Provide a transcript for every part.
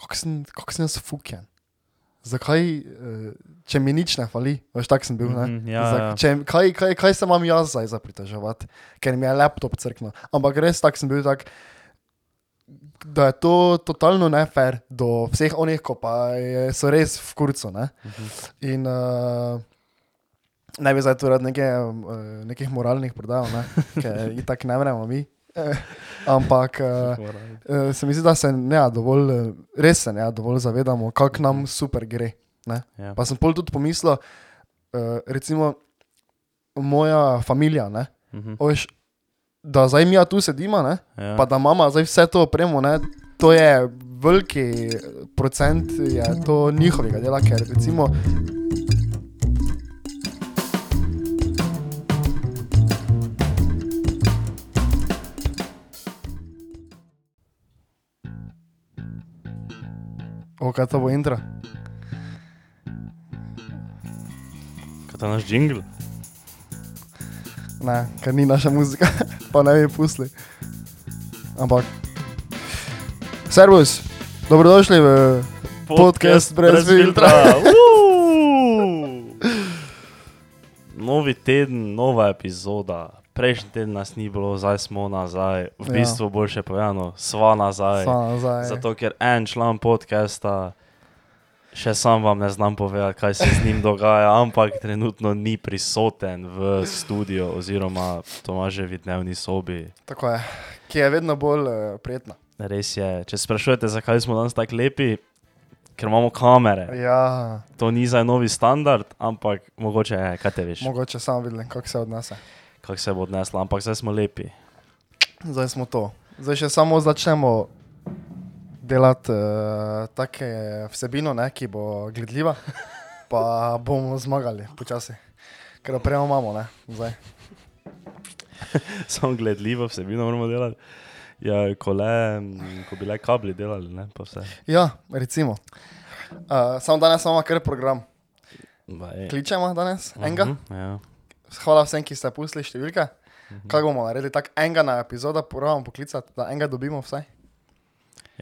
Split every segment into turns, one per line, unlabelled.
kako sem, kako sem jaz fukjen. Zakaj, eh, če mi nič ne fali, veš, tak sem bil. Ne?
Mhm, ja,
Zdaj,
ja.
Če, kaj, kaj, kaj se imam jaz zdaj za pritoževati, ker mi je laptop crknil. Ampak res tak sem bil tak, da je to totalno nefer do vseh onih, ko pa je, so res v kurcu. Ne?
Mhm.
In uh, ne bi zdaj tu rad neke, eh, nekih moralnih prodajal, ne? ker itak ne vremo mi. Eh, Ampak eh, Eh, se mi zdi, da se ne ja, dovolj, eh, res se ne ja, dovolj zavedamo, kako nam super gre. ne.
Ja.
Pa sem pol tudi pomislil, eh, recimo, moja družina, ne,
Mhm.
veš, da zdaj mi ja tu sedimo, ne,
Ja.
pa da mama zdaj vse to opremo, ne, to je veliki procent je to njihovega dela, ker recimo. O, kaj to bo intro?
Kaj ta naš jingle?
Ne, ker ni naša muzika, pa ne bi pusli. Ampak. Servus, dobrodošli v Podcast brez filtra.
Uuu. Novi teden, nova epizoda. Prejšnji teden nas ni bilo, zdaj smo nazaj. V
Ja.
bistvu, ja. boljše povedano, sva nazaj.
Sva nazaj.
Zato, ker en član podcasta, še sam vam ne znam povedati, kaj se z njim dogaja, ampak trenutno ni prisoten v studiu, oziroma Tomaževi dnevni sobi.
Tako je, ki je vedno bolj uh, prijetna.
Res je, če sprašujete, zakaj smo danes tako lepi, ker imamo kamere.
Ja,
To ni za novi standard, ampak mogoče je, kaj te veš,
mogoče sam vidim, kako se odnese.
kako se bo odneslo, ampak zdaj smo lepi.
Zdaj smo to. Zdaj še samo začnemo delati uh, take vsebino, ne, ki bo gledljiva, pa bomo zmagali počasi. Ker opremo imamo, ne, zdaj.
Samo gledljivo, vsebino moramo delati. Ja, ko, le, mm, ko bi le kabli delali, ne pa vse.
Ja, recimo. Uh, samo danes imamo kar program.
Baj.
Kličemo danes enega.
Mhm, ja.
Hvala vsem, ki ste pusli številke.
Mhm.
Kaj bomo naredili? Tako enega na epizodo, moramo poklicati, da enega dobimo vsaj.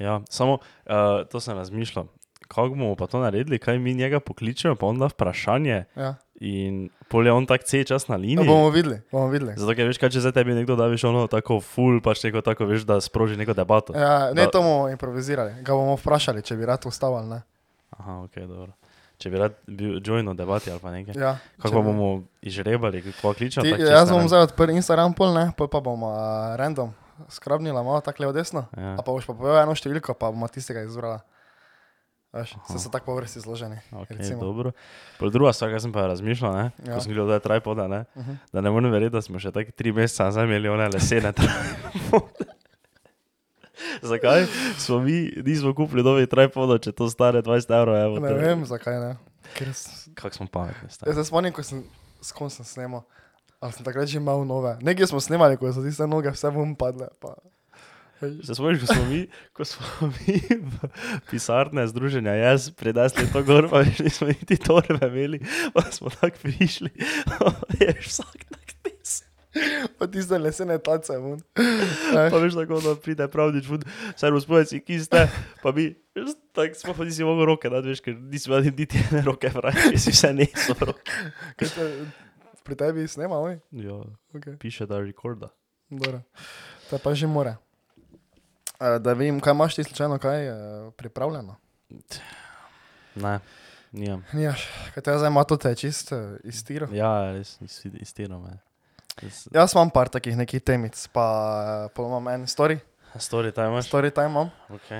Ja, samo uh, to sem razmišljal. Kako bomo pa to naredili, kaj mi njega pokličemo, pa onda vprašanje
Ja.
in polje on tak cel čas na
Ja,
liniji.
bomo videli, bomo videli.
Zato, ker veš, kaj če zdaj tebi nekdo da, veš, ono tako full, pač neko tako, veš, da sproži neko debato.
Ja, ne,
Da-
to bomo improvizirali. Ga bomo vprašali, če bi rad ostal ali ne.
Aha, ok, dobro. Če bi rad bil join v debati ali pa nekaj.
Ja,
Kako
če
pa
bi-
bomo izžrebali, kako kličemo?
Ti,
tako čisto
jaz
ne
bom
vem.
zdaj odprl Instagram, pol ne, pol pa bom uh, random skrabnila malo tako levo desno.
Ja.
A pa boš pa povedal eno številko, pa bomo tistega izbrala. Veš, se so tako po vrsti zloženi.
Okay,
recimo.
dobro. Pol druga stvar, kar sem pa razmišljal, ne?
Ja. Mhm.
ko sem gledal tripode, ne? Uh -huh. da ne morem verjeti, da smo še tako tri meseca nazaj imeli one lesene tripode. Zakaj smo mi, nismo kupili novih tripodov, če to stare 20 evrov? evo,
Ne
to je-
vem, zakaj ne. Ker s-
Kako smo pametni. stari.
Jaz se spomnim, ko sem s kom sem snimal, ali sem takrat že imel nove. Nekje smo snimali, ko so tiste noge vse vum padle. Pa.
Se spomniš, ko smo mi, ko smo mi v pisarne združenja, jaz predasli to gor, pa še nismo niti torbe imeli, pa smo tako prišli. Veš, vsak tak tes.
Pa tiste lesene tace vum.
Pa veš tako, da pride pravdič vod, saj rozpojci, ki ste, pa mi, veš, tako smo pa nisi mogel roke, da veš, ker nisi imel niti ene roke, vrati, si vse niso roke.
Kaj te- Pri tebi snema, oj?
Ja,
Okay.
piše, da rekorda.
Dobro. Te pa že more. Eh, Da vem, kaj imaš ti slučajno, kaj je pripravljeno.
Ne, nijem.
Nijaš, Ja, kaj te zdaj ima, to te je čisto eh, iz tira.
Ja, res nisi istiral me. Jaz-
Jaz imam par takih nekih temic, pa eh, pol imam en story,
Story time, imaš?
story time imam,
Ok,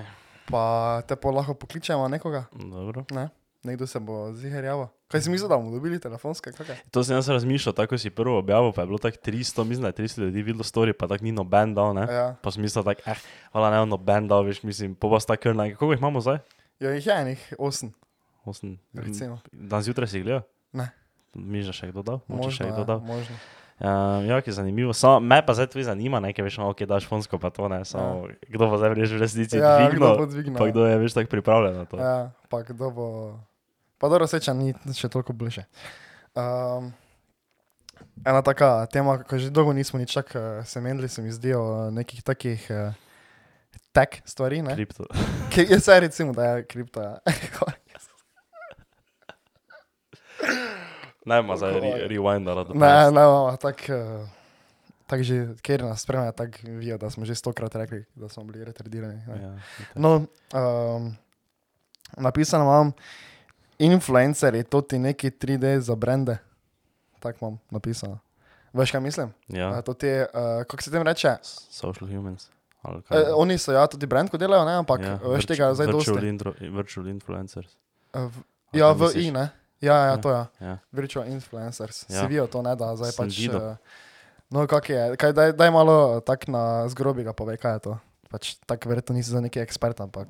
pa te pa lahko pokličemo nekoga,
dobro.
ne? Nekdo se bo ziherjava. Kaj si mislil, da bomo dobili telefonske? Kakaj?
To sem jaz razmišljal, tako ko si prvo objavil, pa je bilo tako 300, mislim, da je 300 ljudi videlo story, pa tako ni noben dal, ne?
Ja,
Pa sem mislil, da eh, hvala, ne, noben dal, veš, mislim, po vas tako nekaj. Koliko jih imamo zdaj?
jo jih je enih osem,
Osem.
recimo.
Dan zjutraj si gledal?
Ne.
Miža še kdo dal? Moče še
Možno,
kdo
ja,
dal?
možno.
Um, ja, ki je zanimivo. Samo me pa zdaj tudi zanima, nekaj veš, no, ok, daš fonsko, pa to ne, samo kdo pa zdaj veš v resnici
Ja, kdo
dvignil,
bo dvignil,
pa
ja.
kdo je veš tako pripravljen na to.
Ja, pa kdo bo. Pa dobro, seča ni še toliko bliže. Um, ena taka tema, ko že dolgo nismo nič tako eh, se menili, se mi zdijo eh, nekih takih eh, tek stvari, ne?
Kripto.
Ki- Jaz se recimo, da ja, je kripta.
Naj ima zdaj re,
Alkohol.
rewind, da da
ne, ne, mama, tak, eh, tak že, ker nas spremlja, tako vijo, da smo že stokrat rekli, da smo bili retardirani. ne.
Ja,
No, um, napisano imam, influencer je to ti neki 3D za brende. Tako imam napisano. Veš, kaj mislim?
ja.
Ja. To ti je, uh, kako se tem reče?
social humans. ali kaj.
E, oni so ja tudi brend, ko delajo, ne, ampak ja, veš
virtu-
tega zdaj
virtual
dosti.
Intro, virtual influencers.
Eh, v-
Ali
Ja,
kaj
v
misliš?
I, ne. Ja, ja,
Ja.
to je. Ja.
Ja.
Virtual influencers. Ja.
Ja.
Si vijo to, ne, da zdaj
Sem
pač.
videl.
eh, No, kak je, kaj, daj, daj malo eh, tak na zgrobiga povej, kaj je to. Pač tako verjetno nisi za neki ekspert, ampak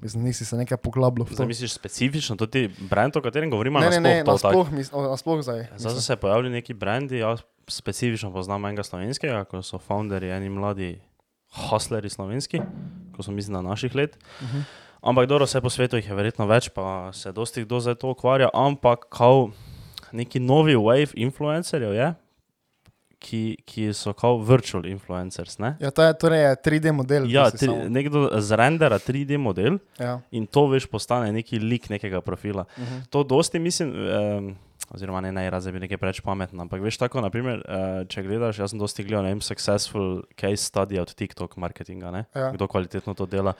mislim, nisi se nekaj poglabljal v to.
Zdaj misliš specifično, to ti brand, o katerem govorimo,
Ne, no, ne, ne,
to tako?
nasploh, mis, o, nasploh zdaj.
Zdaj so se pojavili neki brandi, jaz specifično poznam enega slovenskega, ko so founderji, eni mladi hustleri slovenski, ko so mislim na naših let.
Uh -huh.
Ampak dobro, vse po svetu jih je verjetno več, pa se dosti kdo zdaj to ukvarja, ampak kao neki novi wave influencerjev je, ki, ki so kao virtual influencers. Ne?
Ja, to je torej je 3D model.
Ja,
mislim,
tri,
samo.
nekdo zrendera 3D model
ja.
in to veš postane neki lik nekega profila.
Uh -huh.
To dosti mislim, um, oziroma ne najraz, da bi nekaj preveč pametno, ampak veš tako, naprimer, uh, če gledaš, jaz sem dosti gledal, ne vem, successful case study od TikTok marketinga, ne?
Ja.
kdo kvalitetno to dela.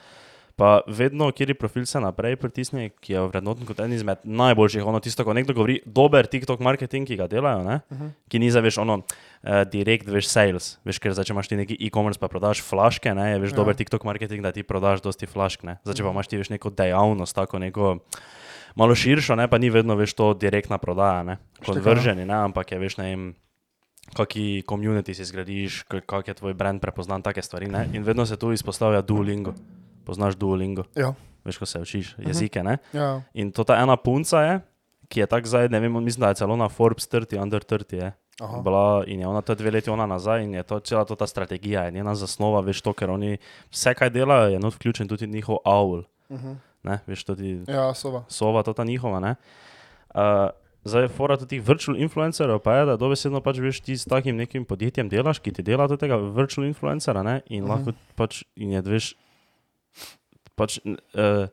Pa vedno, kjer je profil se naprej pritisne, ki je vrednoten kot en izmed najboljših, ono tisto, ko nekdo govori, dober TikTok marketing, ki ga delajo, ne?
Uh -huh.
ki ni za veš ono, uh, direkt veš sales, veš, ker zdaj, če imaš ti neki e-commerce pa prodaš flaške, ne, je veš
Ja.
ja. dober TikTok marketing, da ti prodaš dosti flašk, ne, zdaj, če pa imaš ti veš neko dejavnost, tako neko malo širšo, ne, pa ni vedno veš to direktna prodaja, ne, kot
Štekam, ja.
vrženi, ne, ampak je veš, ne vem, kaki komunity si zgradiš, k- kak je tvoj brand prepoznan, take stvari, ne, in vedno se tu izpostavlja Duolingo, poznaš Duolingo,
Ja.
veš, ko se učiš jezike, ne,
Ja.
in to ta ena punca je, ki je tako zdaj, ne vem, mislim, da je celo na Forbes 30, under 30 je.
Aha.
Bila, in je ona to dve leti ona nazaj, in je to cela to ta strategija, je njena zasnova, veš to, ker oni vse, kaj delajo, je not vključen tudi njihov avl,
Uh -huh.
ne, veš tudi
ja, sova.
sova, to ta njihova, ne. Uh, zdaj, fora tudi teh virtual influencerjev pa je, da dobesedno pač veš ti s takim nekim podjetjem delaš, ki ti dela do tega virtual influencera, ne, in
Mhm.
lahko pač, in je veš, pač. Uh,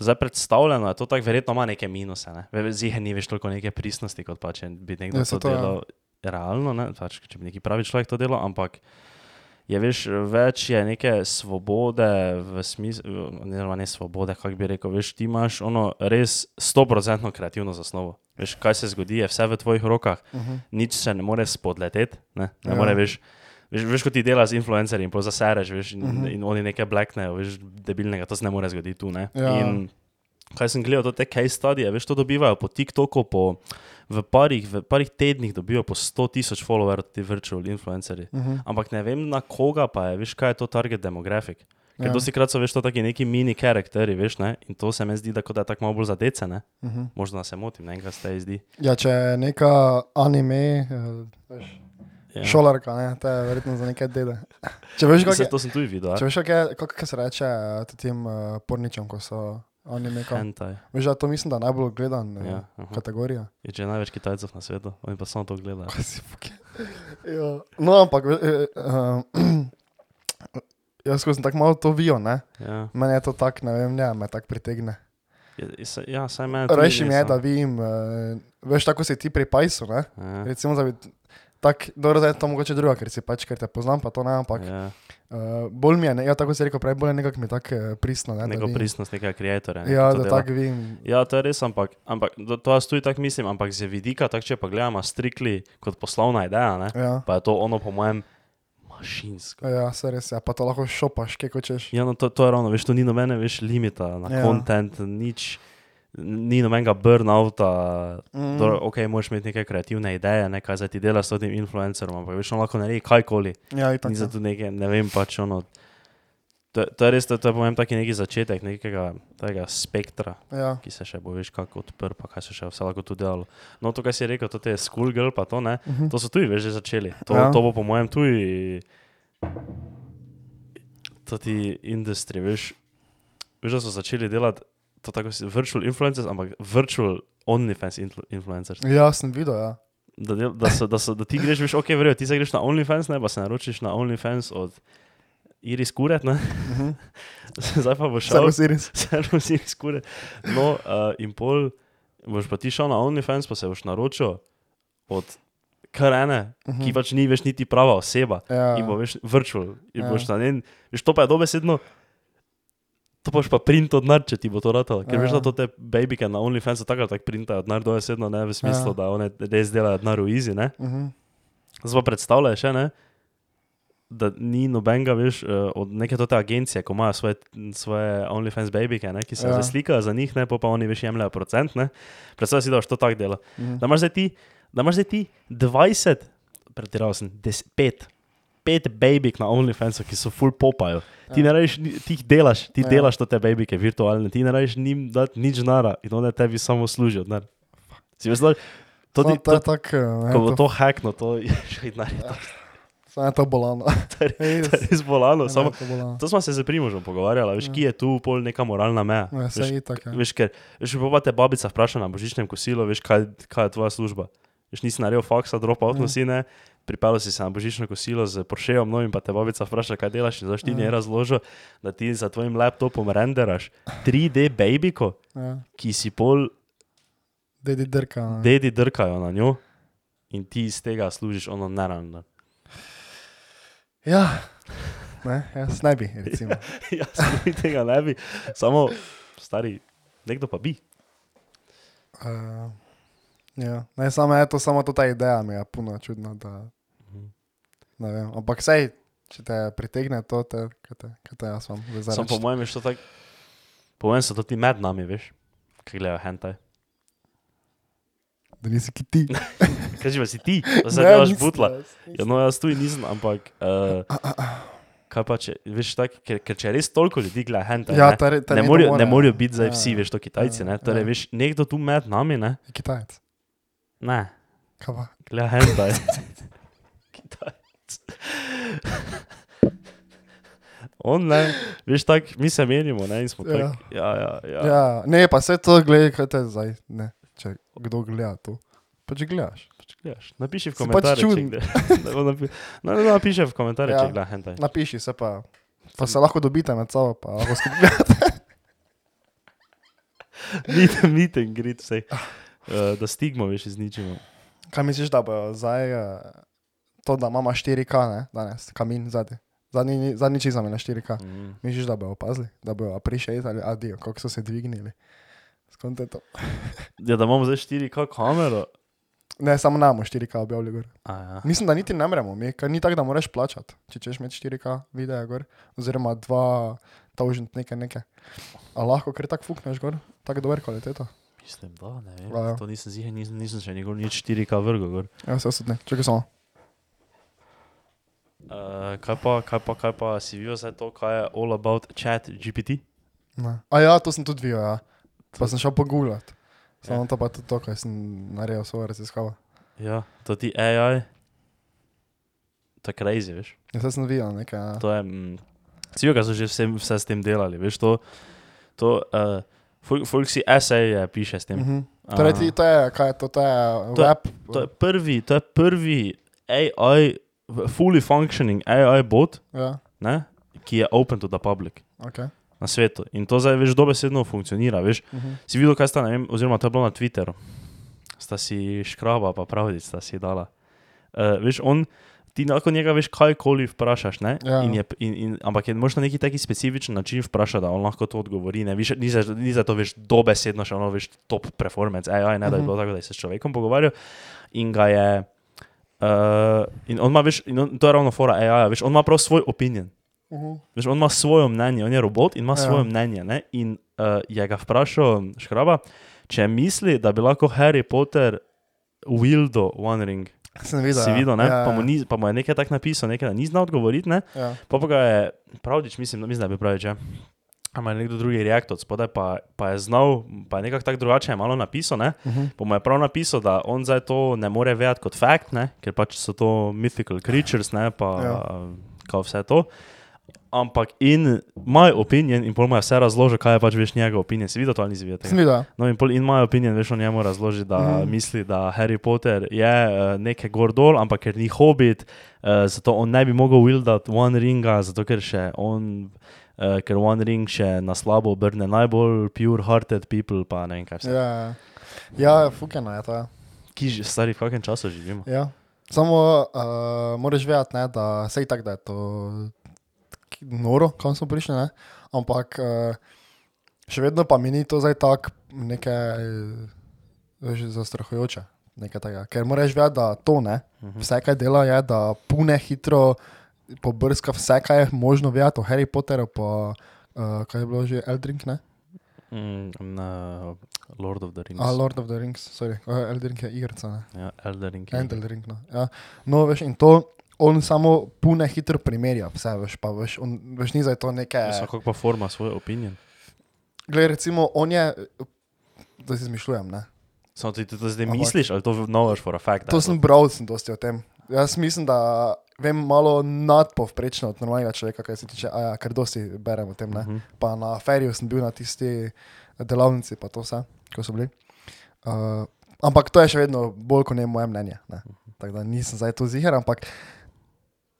Zdaj predstavljeno je to tako, verjetno ima neke minuse. Ne? Ve- Ziher ni več toliko neke pristnosti, kot pa če bi nekdo
Ja,
ja,
saj to
to, to
ja.
delal realno, ne? pač, če bi neki pravi človek to delal, ampak je veš, več je neke svobode, v smislu, ne, ne svobode, kako bi rekel, veš, ti imaš ono res 100% kreativno zasnovo. Veš, kaj se zgodi, je vse v tvojih rokah,
Uh -huh.
nič se ne more spodleteti, ne, ne
Ja.
ja. more veš. Veš, veš, kot ti delaš z influencerji in pozasereš, veš, in, uh
Mhm.
-huh. in oni nekaj bleknejo, veš, debilnega, to se ne more zgoditi tu. Ne?
Ja.
In kaj sem gledal, to te case studije, veš, to dobivajo po TikToku, po, v, parih, v parih tednih dobijo po 100 tisoč followerjev ti virtual influencerji.
Uh -huh.
Ampak ne vem, na koga pa je, veš, kaj je to target demografik. Ker
Ja.
ja. dosti krat so veš to taki neki mini karakteri, veš, ne? in to se mi zdi, da, kot da je tako malo bolj za dece, ne?
Uh -huh.
Možda se motim, ne vem, kaj se tebi zdi.
ja, če je neka anime, eh, veš,
Ja.
ja. šolarka, ne, to je verjetno za neke dede. Če veš, kako
Se,
je,
to sem tudi videl,
če
ali
veš, kako je- kako- kako se reče eh, tem uh, porničem, ko so anime. kam-
hentai.
Veš, da to mislim, da je najbolj gledan eh,
Ja, aha.
kategorija.
Je že največ Kitajcev na svetu, oni pa samo to gledajo.
Kaj si fucking- Ja. No, ampak eh, eh, eh, jaz ko sem tako malo to vijo, ne?
Ja,
meni je to tako, ne vem, ne, me tako pritegne.
je, je, se- ja saj meni. tudi no. ja.
Reši mi
ni,
je,
samo-
da vidim, eh, veš, tako si ti pri Pajsu, ne?
Ja,
Recimo, da bi tak, dobro, zdaj je to mogoče druga, ker si pač, ker te poznam, pa to ne, ampak
ja,
eh, bolj mi je, ne, ja, tako si rekel, prej bolj je nekako mi tako eh, pristno, ne? da
neko
vidim.
pristnost, nekega kreatorja. ne,
Ja,
ki to
da
dela.
tako vidim.
Ja, to je res, ampak, ampak to, to jaz tudi tako mislim, ampak z vidika, tako če pa gledamo strikli kot poslovna ideja, ne?
Ja,
pa je to ono po mojem mašinsko.
ja se res, ja, pa to lahko šopaš, kaj hočeš.
Ja, no, to, to je ravno, veš, tu ni nobene več
Ja.
limita na kontent, ja. nič, ni nobenega burnouta.
Mm.
Mm. Ok, moraš imeti neke kreativne ideje, ne kaj zdaj ti delaš s tem influencerom, ampak veš, on lahko naredi kajkoli.
Ja, itak.
Ni
ja.
za to nekaj, ne vem pač ono. To, to je res, to, to je po mojem taki neki začetek nekega takega spektra,
Ja.
ki se še bo veš kako odprl, pa kaj se še vse lahko tu delalo. No, to, kar si rekel, to te schoolgirl, pa to ne,
Mhm.
To so tudi veš, že začeli. To,
Ja.
ja. to bo po mojem tudi. To ti industrije, veš, veš, da so začeli delati to tako si virtual influencers, ampak virtual OnlyFans influ- influencers.
Ja, sem videl, ja.
Da, del, da, so, da, so, da ti greš, veš, ok, verjel, ti se greš na OnlyFans, ne pa se naročiš na OnlyFans od Iris Kuret, ne?
Mhm.
zdaj pa bo šel.
Samo Siris.
Vseeno si jih skure. No, uh, in pol boš pa ti šel na OnlyFans, pa se boš naročil od kar ene, uh -huh. ki pač ni več niti prava oseba.
Mhm. Ja.
In bo veš virtual,
Ja.
in ja. boš na njen. Veš, to pa je dobesedno. To boš pa print od nar, če ti bo to ratalo. Ker ja. veš,
Ja.
da to te babyke na OnlyFansu tako ali tako printajo od nar, dobesedno ne v
Ja.
smislu, ja. da one res delajo od nar v easy, ne.
Mhm.
Zdaj pa predstavljaj še ne. Da ni nobenega, veš, eh, od neke te agencije, ko imajo svoje, svoje OnlyFans babyke, ne, ki se
Ja.
ja. zaslikajo za njih, ne, pol pa oni veš jemljajo procent. Ne. Predstavljaj si, da boš to tako delo.
Mhm.
Da imaš zdaj ti, da imaš zdaj ti 20, pretiraval sem, 5, 5 babyk na OnlyFansu, ki so full popajo. Ti ne rečeš, ni- ti jih delaš, ti
Ja.
ja. delaš to te babyke virtualne, ti ne rečeš njim dati nič nara in one tebi samo služijo. denar. Si vesel, to
No,
ti
to je
to,
tako,
ko bo
eh, to-
to hackno, to je še vedno.
samo je to bolano. Ej, res,
Res bolano.
samo
Samo,
je to bolano.
to smo se z primožem pogovarjali, veš,
Ja.
ki je tu pol neka moralna meja.
Ja, saj
Veš,
itak, ja.
Veš, ker, veš, pa pa te babica vpraša na božičnem kosilu, veš, kaj, kaj je tvoja služba. Veš, nisi naredil faksa, drop out
Ja.
nosi, ne, pripeljal si se na božično kosilo z Porscheom novim, pa te babica vpraša, kaj delaš in zaš ti
Ja.
ne razložil, da ti za tvojim laptopom renderaš 3D babyko,
Ja.
ki si pol
Dedi drka. ne.
dedi drkajo na njo in ti iz tega služiš ono naravno.
Ja, ne, jaz ne bi, recimo.
Jaz si Ja, tega ne bi, samo stari, nekdo pa bi.
Uh, ja. ne, samo je to, samo to ta ideja mi je puno čudna. Da,
Mhm.
ne vem, ampak sej, če te pritegne to, te, kaj te, kaj te jaz vam
Sam po
zazdravim.
mojem je to tako. Po mojem so to ti med nami, veš, kaj gledajo hentai.
Da nisi ki ti.
Kaj že pa si ti, pa se
Ne,
delaš
nisem
butla.
jaz, nisem.
Ja, no, jaz tu in nisem, ampak. Uh, kaj pa če, veš, tak, ker, ker če res toliko ljudi gleda hentai,
Ja,
ne,
ta re- ta
ne,
nekdo
morajo,
more,
ne
ja.
morajo biti
Ja,
zdaj vsi,
ja.
veš, to Kitajci,
Ja,
ne. Torej,
ja.
veš, nekdo tu med nami, ne,
Je Kitajec.
ne,
Kaj pa?
gleda hentai. Kitajci. On, ne, veš, tako, mi se menimo, ne, in smo
Ja.
tako. Ja, ja, ja. ja.
Ja, ne, pa se to gleda, kaj te zdaj. Ne, če kdo gleda to. Pa če gledaš.
Pač gledaš. Napiši v
Si pač
komentarjih, če
čuden.
gledaš. Ne, bo napi- No, no, napiši v komentarjih,
Ja.
če gledaš hentai.
Napiši se pa. Pa se lahko dobite med sabo, pa lahko skupaj gledate.
Meet, meet and greet vse.
Ah.
Uh, da stigmo veš izničimo.
Kaj misliš, da bo zdaj eh, to, da imamo 4K ne, danes, kamin zadnji? Zadnji, ni- zadnji čizam je na 4K.
Mm.
Misliš, da bojo opazili, da bojo prišli ali adijo, kako so se dvignili? Skonte to.
Ja, da imamo zdaj 4K kamero.
Ne, samo namo 4K objavili gor.
A, ja.
Mislim, da niti ne moremo, mi, ker ni tako, da moraš plačati, če češ imeti 4K videa gor, oziroma 2000 nekaj nekaj. A lahko kar tako fukneš gor, tako dober kvaliteto.
Mislim, da ne. Vem.
Ja, ja.
To nisem zigen, nisem, nisem še nikoli nič 4K vrgel. gor.
Ja, se osudne, čakaj samo.
Uh, kaj, pa, kaj, pa, kaj pa si videl zdaj to, kaj je all about chat GPT?
Ne. A ja, to sem tudi videl, ja. pa sem šel pogulati. Samo to pa tudi to, kaj sem naredil, svoje raziskave.
Ja, to ti AI. To je crazy, veš.
Ja, se sem videl nekaj. ja.
To je, mm, vsi vemo, kaj so že vse, vse s tem delali, veš, to, to uh, folk si esej uh, piše s tem.
Mhm. Torej, ti, to je, kaj je to, to je
To je-
web.
To je prvi, to je prvi AI, v- fully functioning AI bot,
Ja,
ne, ki je open to the public.
okay.
Na svetu. In to zdaj veš, dobesedno funkcionira. Veš.
mhm.
Si videl, kaj sta, ne vem, oziroma to je bilo na Twitterju, sta si škraba, pa pravi, sta si dala. Uh, veš, on, ti lahko njega veš, kajkoli vprašaš. ne,
Ja.
In je, in, in, ampak je možno neki taki specifičen način vprašati, da on lahko to odgovori. Ne, viš, ni, za, ni za to, veš, dobesedno še ono, veš, top performance, AI, ne, da je
Mhm.
bilo tako, da je se s človekom pogovarjal. In ga je. Uh, in on ima, veš, in on, to je ravno fora AI, veš, on ima prav svoj opinion.
Mhm.
Veš, on ima svoje mnenje, on je robot in ima
Ja.
ja. svoje mnenje. Ne? In uh, je ga vprašal Škraba, če misli, da bi lahko Harry Potter wildo One Ring.
Sem
Da,
videl.
si
ja.
videl, ne?
Ja,
pa,
ja,
mu ni, pa mu je nekaj tako napisal, nekaj, da ni znal odgovoriti. ne.
Ja.
Pa pa ga je pravdič, mislim, da- mislim, da bi pravič. Ja. Ampak je nekdo drugi reaktor spodaj, pa, pa je znal, pa je nekako tako drugače je malo napisal. Ne?
Mhm.
Pa mu je prav napisal, da on zdaj to ne more vedeti kot fakt, ne? ker pač so to mythical creatures, ne pa
Ja.
ja. kao vse to. Ampak in moj opinion, in pol mu je vse razložil, kaj je pač veš njegov opinion. Si videl to ali nisi videl? tega?
Sem videl.
No, in, pol, in moj opinion, veš, on njemu razloži, da
Mhm.
mm. misli, da Harry Potter je uh, nekaj gor dol, ampak ker ni hobit, uh, zato on ne bi mogel wildati One Ringa, zato ker še on. Uh, ker One Ring še na slabo obrne najbolj pure-hearted people, pa ne vem kaj vse. Yeah.
Ja, ja fukeno je to. ja.
Ki že stari, v kakem času živimo.
Ja. Samo uh, moraš vedeti, ne, da se je tako, da je to k- noro, kam smo prišli. Ne? Ampak uh, še vedno pa mi ni to zdaj tako nekaj eh, veš, zastrahujoče. nekaj takega. Ker moraš vedeti, da to ne.
Mhm.
Vse, kaj dela, je, da pune hitro pobrska vse, kaj je možno vedeti o Harry Potterju, pa uh, kaj je bilo že Eldrink, ne?
Mm, na Lord of the Rings.
A, Lord of the Rings, sorry, uh, Eldrink je igrica, ne?
Ja, Elder Ring. je-
Endel ring. No. Ja. no, veš, in to on samo pune hitro primerja, vse veš, pa veš, on, veš ni za to nekaj.
Vsakak Ja, pa forma svojo opinion.
Glej, recimo, on je, da si izmišljujem, ne.
Samo ti ti to zdaj
Ampak-
misliš, ali to knowaš for a fact?
To
ali
sem bral, sem dosti o tem. Jaz mislim, da vem malo nadpovprečno od normalnega človeka, kaj se tiče, a ja, ker dosti berem o tem, ne.
Mhm.
Pa na feriju sem bil na tisti eh, delavnici, pa to vse, ko so bili. Uh, ampak to je še vedno bolj kot ne moje mnenje. Ne. Tako da nisem zdaj to zihar, ampak.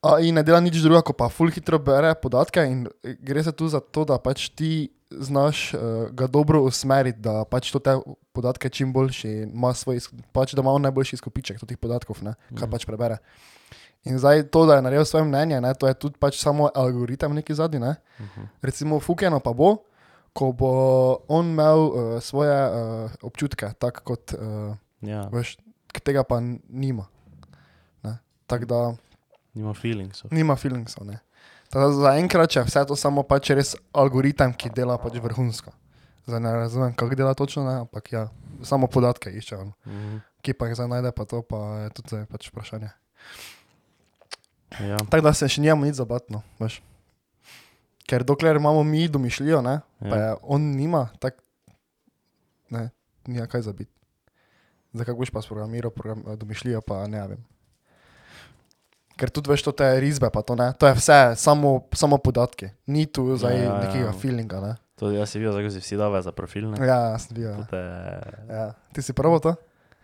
A, in ne dela nič drugega, kot pa full hitro bere podatke in eh, gre se tu za to, da pač ti znaš uh, ga dobro usmeriti, da pač to te podatke čim boljši, ima svoj, iz- pač da ima on najboljši izkupiček teh podatkov, ne, kaj pač prebere. In zdaj to, da je naredil svoje mnenje, ne, to je tudi pač samo algoritem neki zadnji. Ne. Recimo Fukeno pa bo, ko bo on imel uh, svoje uh, občutke, tako kot uh,
Ja,
veš, k- tega pa n- nima. Ne? Tako da
nima feelings.
nima filmov. Zaenkrat je vse to samo pač res algoritem, ki dela pač vrhunsko. Zdaj ne razumem, kako dela točno, ne? ampak ja, samo podatke iščejo.
Mhm.
Ki pa jih zdaj najde, pa to pa je tudi zdaj pač vprašanje.
Ja,
Tako da se še njemu ni zabatno, no, veš. Ker dokler imamo mi domišljijo, ne, pa
Ja.
je, on nima, tako ne, nima kaj za biti. Za kako boš pa sprogramiral program, eh, domišljijo, pa ne vem. Ker tudi veš, to te risbe, pa to ne, to je vse, samo, samo podatki. Ni tu zdaj
Ja,
ja,
ja, ja.
nekega feelinga, ne.
to jaz si videl, zakaj si vsi dave za profil. Ne?
Ja, sem bil.
To
Ja.
Te...
Ja. Ti si prvo to?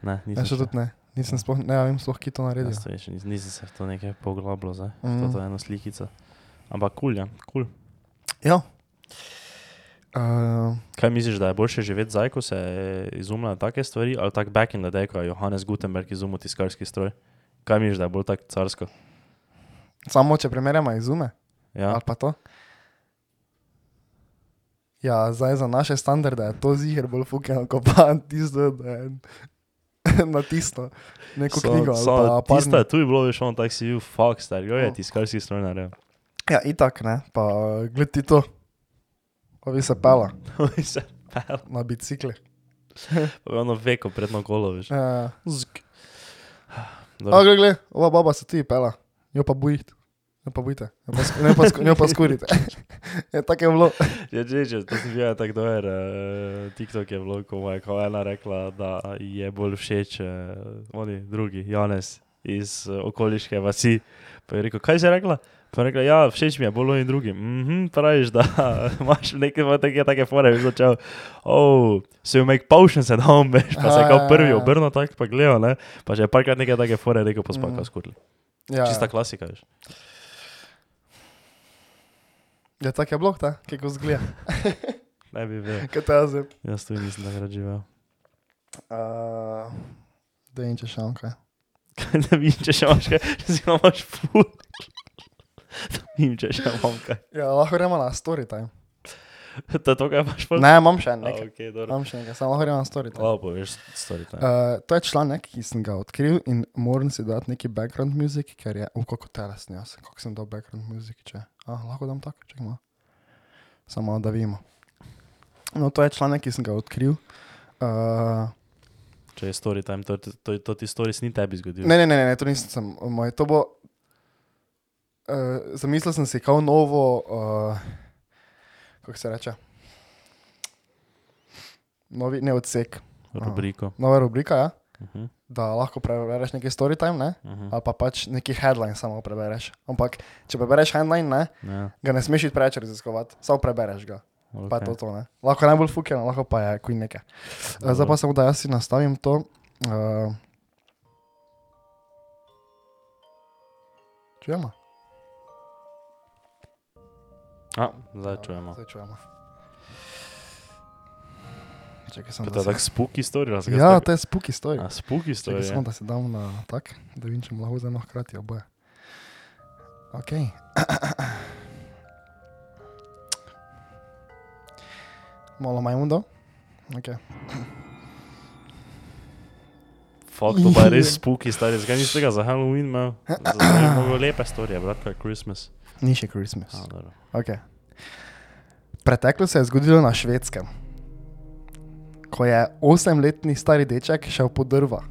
Ne,
Ja,
nisem
še tudi ne. Nisem sploh, ne vem, sploh, ki to naredi.
Jaz to še nis, nisem se v to nekaj poglabljal, zdaj.
Mhm.
Mm. To je ena slikica. Ampak kul, cool, ja, kul. Cool.
Ja. Uh,
Kaj misliš, da je boljše živeti zdaj, ko se izumljajo take stvari, ali tako back in the day, ko je Johannes Gutenberg izumil tiskarski stroj? Kaj misliš, da je bolj tako carsko?
samo če primerjamo izume. Ja.
Ja,
Ali pa to. Ja, zdaj za naše standarde je to zihar bolj fukeno, kot pa tisto, da je na tisto, neko so, knjigo. ali
so,
pa
tista,
parni-
tu je bilo, veš, on tak si bil, fuck, star, jo je
Mm.
tiskarski stroj naredil.
Ja, itak ne, pa gled ti to. Pa bi se pela
In se pel,
na bicikli.
pa je ono veko predno kolo, veš.
Ja.
Zg.
A, gled, gled, ova baba se ti pela, jo pa bojite. Ne pa bojite, ne pa, sk- jo pa, sk- jo pa skurite. je tako je bilo.
Ja, že, že, to sem videl tako dober. Uh, TikTok je bilo, ko mu je ko ena rekla, da ji je bolj všeč uh, oni drugi, Janes iz uh, okoliške vasi. Pa je rekel, kaj si rekla? Pa je rekla, ja, všeč mi je bolj oni drugi. Mhm, praviš, da imaš neke take, take fore, bi začel, oh, so you make potions at home, veš, pa se
Ja,
je
ja,
kot prvi
ja.
obrnil, tako pa gledal, ne, pa že je parkrat neke take fore rekel, pa
Mhm.
spaka skurli.
Ja,
Čista klasika, veš.
ja tako je bilo, ta, kako zgleda.
Ne bi bil,
Kaj te jaz zdaj?
jaz tu nisem takrat živel.
Uh, da in če še on kaj.
da vidim, če še imaš kaj, če si imaš ful. Da vidim, če še imam kaj.
Ja, lahko gremo na storytime.
To je to, kaj imaš ful.
Ne, imam še en
A,
nekaj.
ok, dobro.
Imam še nekaj, samo lahko gremo na storytime.
O, poveš, stvari tam.
Uh, to je članek, ki sem ga odkril in moram si dati neki background music, ker je, uko kot teles, ne, kako sem dal background music, če. A, lahko dam tako, če ima. Samo malo, da vidimo. No, to je članek, ki sem ga odkril. Uh,
Če je story time, to, to, to, to ti stories ni tebi zgodil.
Ne, ne, ne, ne, to nisem moj. To bo. Uh, zamislil sem si kao novo, uh, kako se reče, novi, ne odsek,
Rubriko.
nova rubrika. Ja?
Mhm,
da lahko prebereš neki storytime, ne?
mhm,
ali pa pač neki headline samo prebereš. Ampak če prebereš headline, ne,
ja,
ga ne smeš iti preveč raziskovati, samo prebereš ga. Okay. Pa je to,
okej.
to ne. Lahko je najbolj fukeno, lahko pa je kuj nekaj. Eh, Zdaj pa samo da jaz si nastavim to. Uh, čujemo?
A, zdaj čujemo.
Zdaj čujemo. Čakaj,
To
samo
je
da
ta
se...
tak spooky story, razgledaj.
Ja, to je spuki stoji.
A, ja. spooky story.
Čakaj,
je.
samo da se dam na tak, da vidim, če mu lahko vzamem hkrati oboje. Ok. Malo majmundo. Okay.
Fakt, to pa je res spooky stari, zakaj nisi tega za Halloween imel? Zelo lepe storije, brat, kot Christmas.
Ni še Christmas.
A, dobro.
Okay. Preteklo se je zgodilo na švedskem, ko je osemletni stari deček šel po drva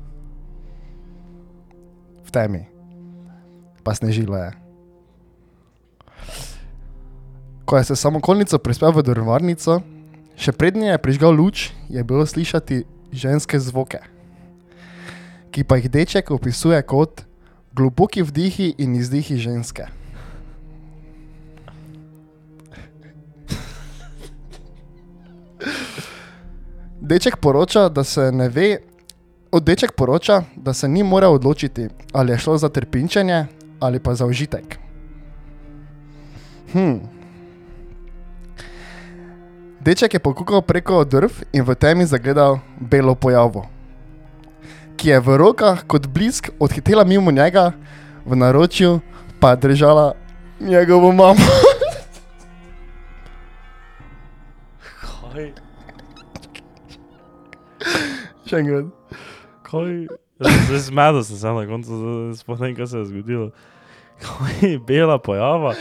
v temi, pa snežilo je. Ko je se samokolnico prispel v drvarnico, še prednje je prižgal luč, je bilo slišati ženske zvoke, ki pa jih deček opisuje kot globoki vdihi in izdihi ženske. Deček poroča, da se ne ve, od deček poroča, da se ni moral odločiti, ali je šlo za trpinčenje ali pa za užitek. Hm. Deček je pokukal preko drv in v temi zagledal belo pojavo, ki je v rokah kot blisk odhitela mimo njega, v naročju pa je držala njegovo mamo.
Kaj?
Še enkrat.
Kaj? Zdaj zmedel sem se na koncu, spohnem, kaj se je zgodilo. Kaj, bela pojava.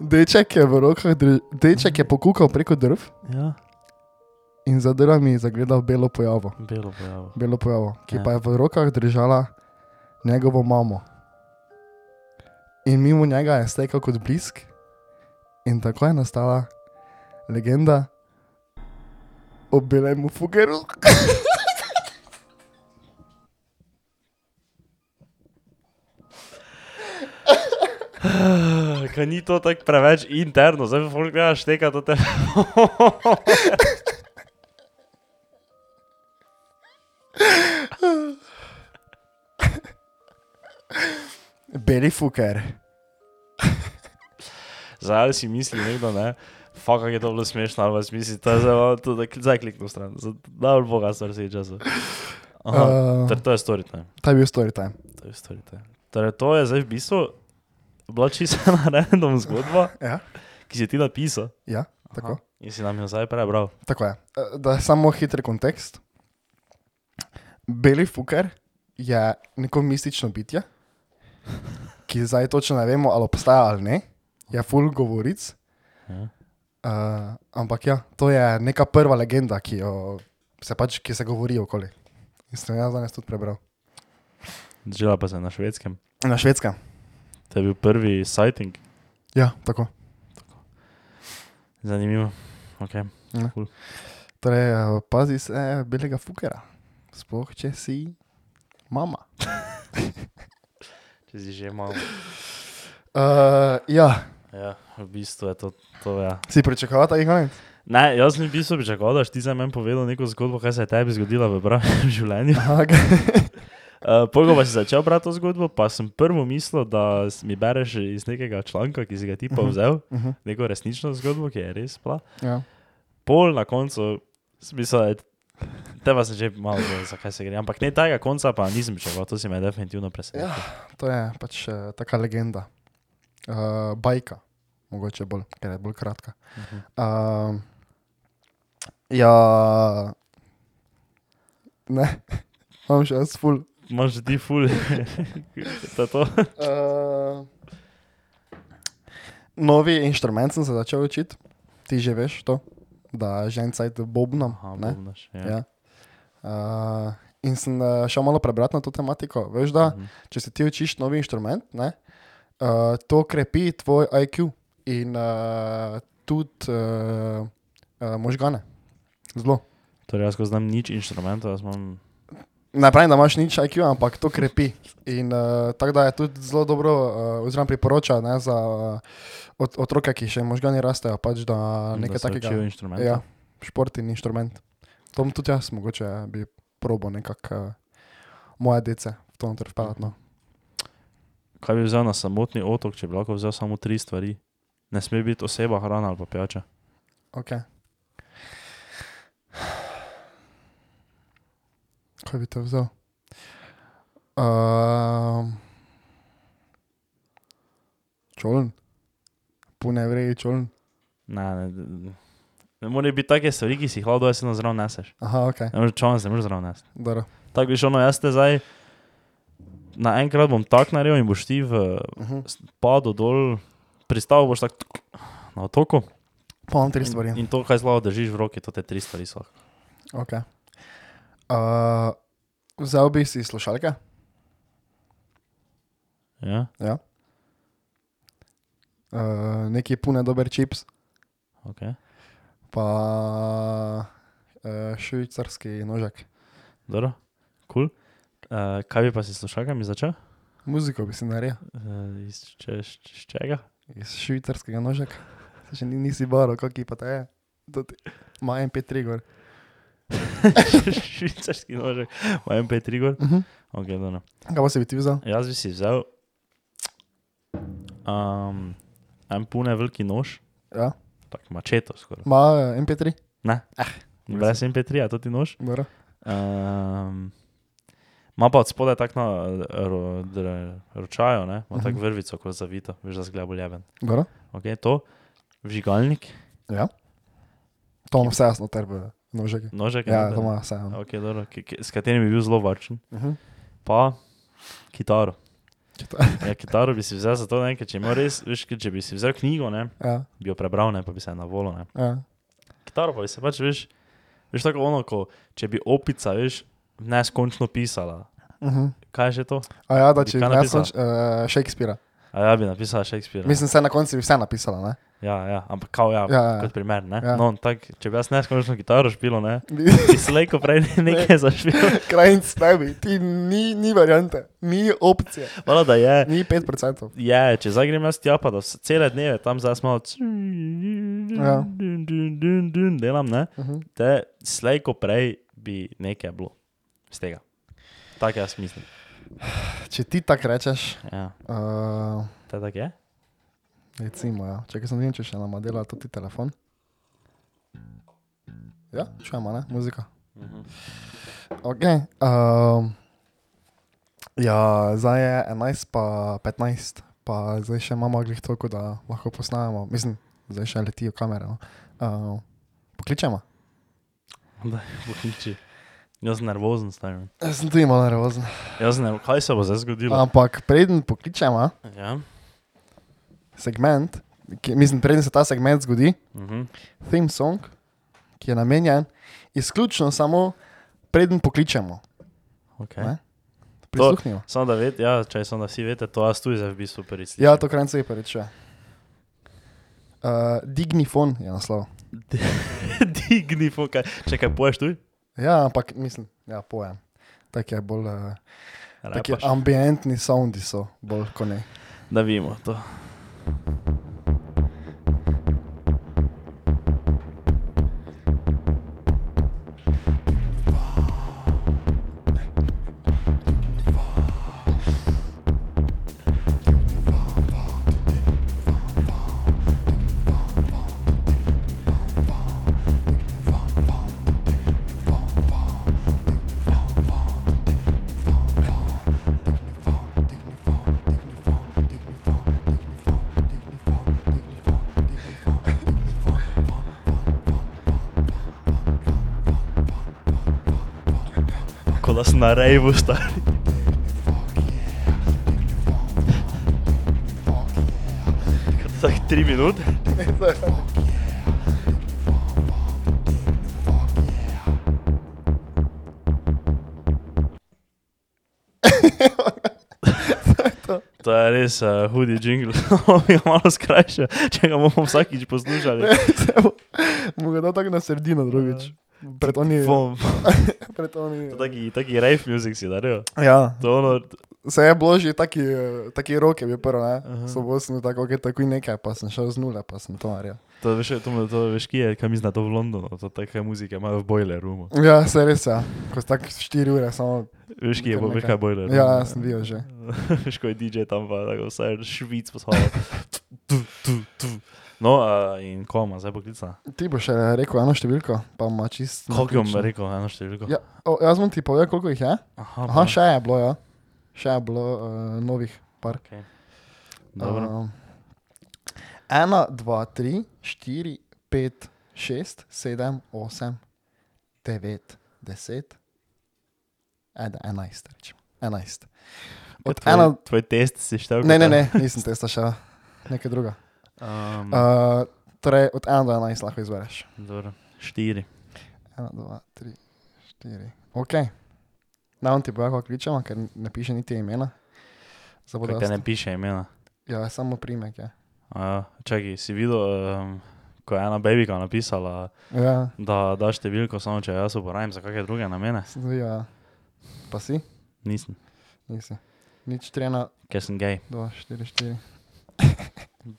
Deček je v rokah, drž... deček je pokukal preko drv
Ja,
in za drvami zagledal belo pojavo,
bela pojava.
belo pojavo ki
Ja.
ja. pa je v rokah držala njegovo mamo. In mimo njega je stekel kot blisk, in tako je nastala legenda o belem fugeru.
Kaj ni to tako preveč interno, zdaj pa folk gledaš teka to te...
Beli fuger.
Zdaj ali si misli nekdo, ne? Fak, kako je to bilo smešno, ali vas misli, to je zelo, to da zdaj kliknu stran. Dobro, boga, stvar se je časa. Aha,
Uh,
ter to je storit, ne?
ta je bil storytime.
To je storite. Torej, to je zdaj v bistvu bila čisto ena random zgodba,
Ja,
ki si jo ti napisal
ja tako.
in si nam jo zdaj prebral.
Tako je. Eh, Da je samo hiter kontekst. Beli fuker je neko mistično bitje, ki zdaj točno ne vemo, ali obstaja ali ne, je full govoric.
Ja.
Uh, ampak ja, to je neka prva legenda, ki, jo, se, pač, ki se govori okoli. In sem jo jaz danes tudi prebral.
Žila pa se na švedskem.
Na švedskem.
To je bil prvi sighting.
Ja, tako.
Zanimivo. Okay.
Torej, eh, pazi se belega fukera, sploh če si mama.
Če si že malo.
Uh, ja,
Ja, v bistvu je to. to ja.
si pričakoval ta igra?
Ne, jaz sem v bistvu pričakoval, da boš ti za meni povedal neko zgodbo, kaj se je tebi zgodilo v pravem življenju.
Aha, ok.
Uh, Pogo pa si začel brati to zgodbo, pa sem prvo mislil, da s- mi bereš iz nekega članka, ki si ga ti pa vzel,
uh -huh.
neko resnično zgodbo, ki je res bila.
ja.
pol na koncu, smisel je, teba sem že malo vedel, zakaj se gre. Ampak ne tega konca, pa nisem čakal, to si me je definitivno presenetilo.
To je pač uh, taka legenda. Uh, bajka, mogoče bolj, ker je bolj kratka.
Mhm.
Uh, ja, ne, imam še jaz ful.
Imaš ti ful, da to.
Uh, novi inštrument sem se začel učiti, ti že veš to, da že en cajt bobnam.
Aha,
ne?
bobnaš, ja.
Ja. Uh, in sem uh, šel malo prebrati na to tematiko. Veš, da
Mhm.
če se ti učiš novi inštrument, ne, uh, to krepi tvoj IQ in uh, tudi uh, uh, možgane. Zelo.
Torej, jaz ko znam nič inštrumentov, jaz imam
Ne pravim, da imaš nič IQ, ampak to krepi. In uh, tako da je tudi zelo dobro, uh, oziroma priporoča ne, za uh, od, otroke, ki še možgani rastejo, pač, da nekaj
da se učijo
takega.
inštrumente.
Ja, šport in inštrument. To bom tudi jaz, mogoče eh, bi probo nekako uh, moje dece v to noter vpeljati. No.
Kaj bi vzel na samotni otok, če bi lahko vzel samo tri stvari? Ne sme biti oseba, hrana ali pa pijača.
Okay. Kaj bi te vzel? Um, čoln, pune vreji čoln.
Ne, ne, ne. ne more biti take stvari, ki si jih lahko dojesil zraven neseš.
Aha, ok,
Ne moreš čovna, se ne moreš zraven neseti.
dobro.
Tako bi šel, no jaz te zdaj, naenkrat bom tak naredil in boš ti v
Uh -huh.
padu dol, pristal boš tako na otoku.
Pa imam tri stvari.
In, in to, kaj zelo držiš v roki, to te tri stvari so.
Okay. Uh, vzel bi si slušalke,
Ja?
uh, neki pune dober čips,
Okay.
pa uh, švicarski nožek.
Dobro, kul. Cool. Uh, kaj bi pa si slušalkami začel?
Muziko bi si naredil.
Uh, iz, če, iz čega?
iz švicarskega nožka, Se še ni, nisi baro, kako pa ta je. To ti- Ima MP3 gor.
Švicarski nožek, imam MP3 gor.
Uh -huh.
Okay, dobro.
Kaj pa si bi ti vzel?
Jaz bi si vzel um, en pune veliki nož,
Ja.
tako mačeto skoraj.
Ma eh, MP3?
Brez MP3, a to ti nož.
Dobro.
Um, Ma pa od spodaj tako na eh, ro, dr- ročaju, ne? ima tako
Mhm.
vrvico, kot zavito, veš, da zgleda boljeben.
Dobro.
Okay, to, vžigalnik,
Ja. To ima vse jasno, terbe nožek.
nožek,
Ja,
ne,
to ima vse jasno.
okay, dobro, ki, ki, s katerim bi bil zelo varčen.
Uh -huh.
Pa kitaro.
Kita-
Ja, kitaro bi si vzel zato, ne, ker če, ima res, veš, ker če bi si vzel knjigo, ne,
Ja,
bi jo prebral, ne, pa bi se na volo. Ne.
ja.
Kitaro pa bi se pač, veš, veš tako ono, ko, če bi opica, veš, neskončno pisala.
Uh -huh.
Kaj je že to?
A ja, da
Bi
če
kaj
ne
napisala?
znaš uh, Shakespearea.
A ja, bi napisala Shakespeare.
Mislim, se na koncu bi vse napisala, ne?
Ja, ja, ampak kao ja,
Ja, ja.
kot primer. Ne?
Ja.
Ja. No, tak, če bi jaz neskončno kitaro špilo, ne, bi slejko prej nekaj zašpil.
Krajnc ne bi, ti ni, ni variante, ni opcije,
Malo da je.
ni 5%.
Je, če zdaj grem jaz tja, pa da vse, cele dneve tam zdaj smo od...
Ja.
Delam, ne?
Uh -huh.
Te slejko prej bi nekaj bilo z tega. Tako jaz mislim.
Če ti tako rečeš,
Ja,
uh,
te tako je?
Recimo, ja. Čakaj, sem videl, če še nama dela tudi telefon. Ja, čujemo, ne, muzika. Ok. Um, ja, zdaj je 11, pa 15, pa zdaj še imamo glih toliko, da lahko posnamemo. Mislim, zdaj še letijo kamere. No. Uh, pokličemo.
Pokliči. Jaz sem nervozen, stavim.
Jaz sem tudi malo nervozen.
Jaz ne vem, kaj se bo zdaj zgodilo.
Ampak preden pokličemo
Ja.
segment, ki, mislim, preden se ta segment zgodi,
Mhm.
theme song, ki je namenjen izključno samo preden pokličemo.
Okay.
Ne? Prisluhnimo.
Samo da veste, ja, če sem da vsi veste, to jaz tu zdaj v bistvu prvič.
Ja, to kranjce je pa reče. Uh, Dignifon je naslov.
Digni, fukaj. Čakaj, poješ tu?
Ja, ampak mislim, ja, pojem. Tako je bolj. Uh, taki
Rapaš.
ambientni soundi so, bolj kot ne.
Da vidimo to. Ko da sem na rejvu star. Tako tri minute. To je res uh, hudi jingle, mi ga malo skrajša, če ga bomo vsakič poslušali.
Mogoče da tako na sredino drugič. Eh, Pred oni.
Bom,
Pred oni.
taki, taki rave music si darijo.
Ja,
To ono,
se je bložil taki, eh, taki roke, bi prvo, ne.
Aha.
So bosni tako, ok, tako in nekaj, pa sem šel z nule, pa sem to naredil.
to veš, to, me- to veš, kje je, kam izna to v Londonu, to take muzike imajo v boiler roomu.
Ja, se res je. Ja. Ko si tako 4 ure, samo
Veš, kje je, bo- veš, kaj je boiler room.
Ja, sem bil že.
veš, ko je DJ tam pa tako vse švic poslal. Tu, tu, tu. No, a, in koma, zdaj poklicna.
ti boš eh, rekel eno številko, pa ima čist.
Koliko bom
naključno.
rekel, eno številko?
Ja, o, jaz bom ti povedal, koliko jih je.
Aha,
Aha,
pa-
še je bilo, ja. Še je bilo uh, novih par.
Okej. Dobro.
Um, ena, dva, tri, štiri, pet, šest, sedem, osem, devet, deset, ed, enajst, rečemo. Enajst. Od
Od
ena,
Tvoj test si štel?
ne, ne, ne, nisem testa še, nekaj druga.
Um,
Uh, torej, od ena do enajst lahko izbereš.
dobro, štiri.
Ena, dva, tri, štiri. Ok. Na on ti bo kako kličemo, ker ne piše niti imena. Zdaj bo
Kaj te
dosti.
ne piše imena?
Ja, samo primek je.
A, čakaj, si videl, um, ko je ena babyka napisala,
Ja,
da da številko samo, če jo jaz uporabim za kakšne druge namene?
zdaj ja. Pa si?
Nisem,
Nisi. Nič 3 na
ker sem gej.
2, 4, 4.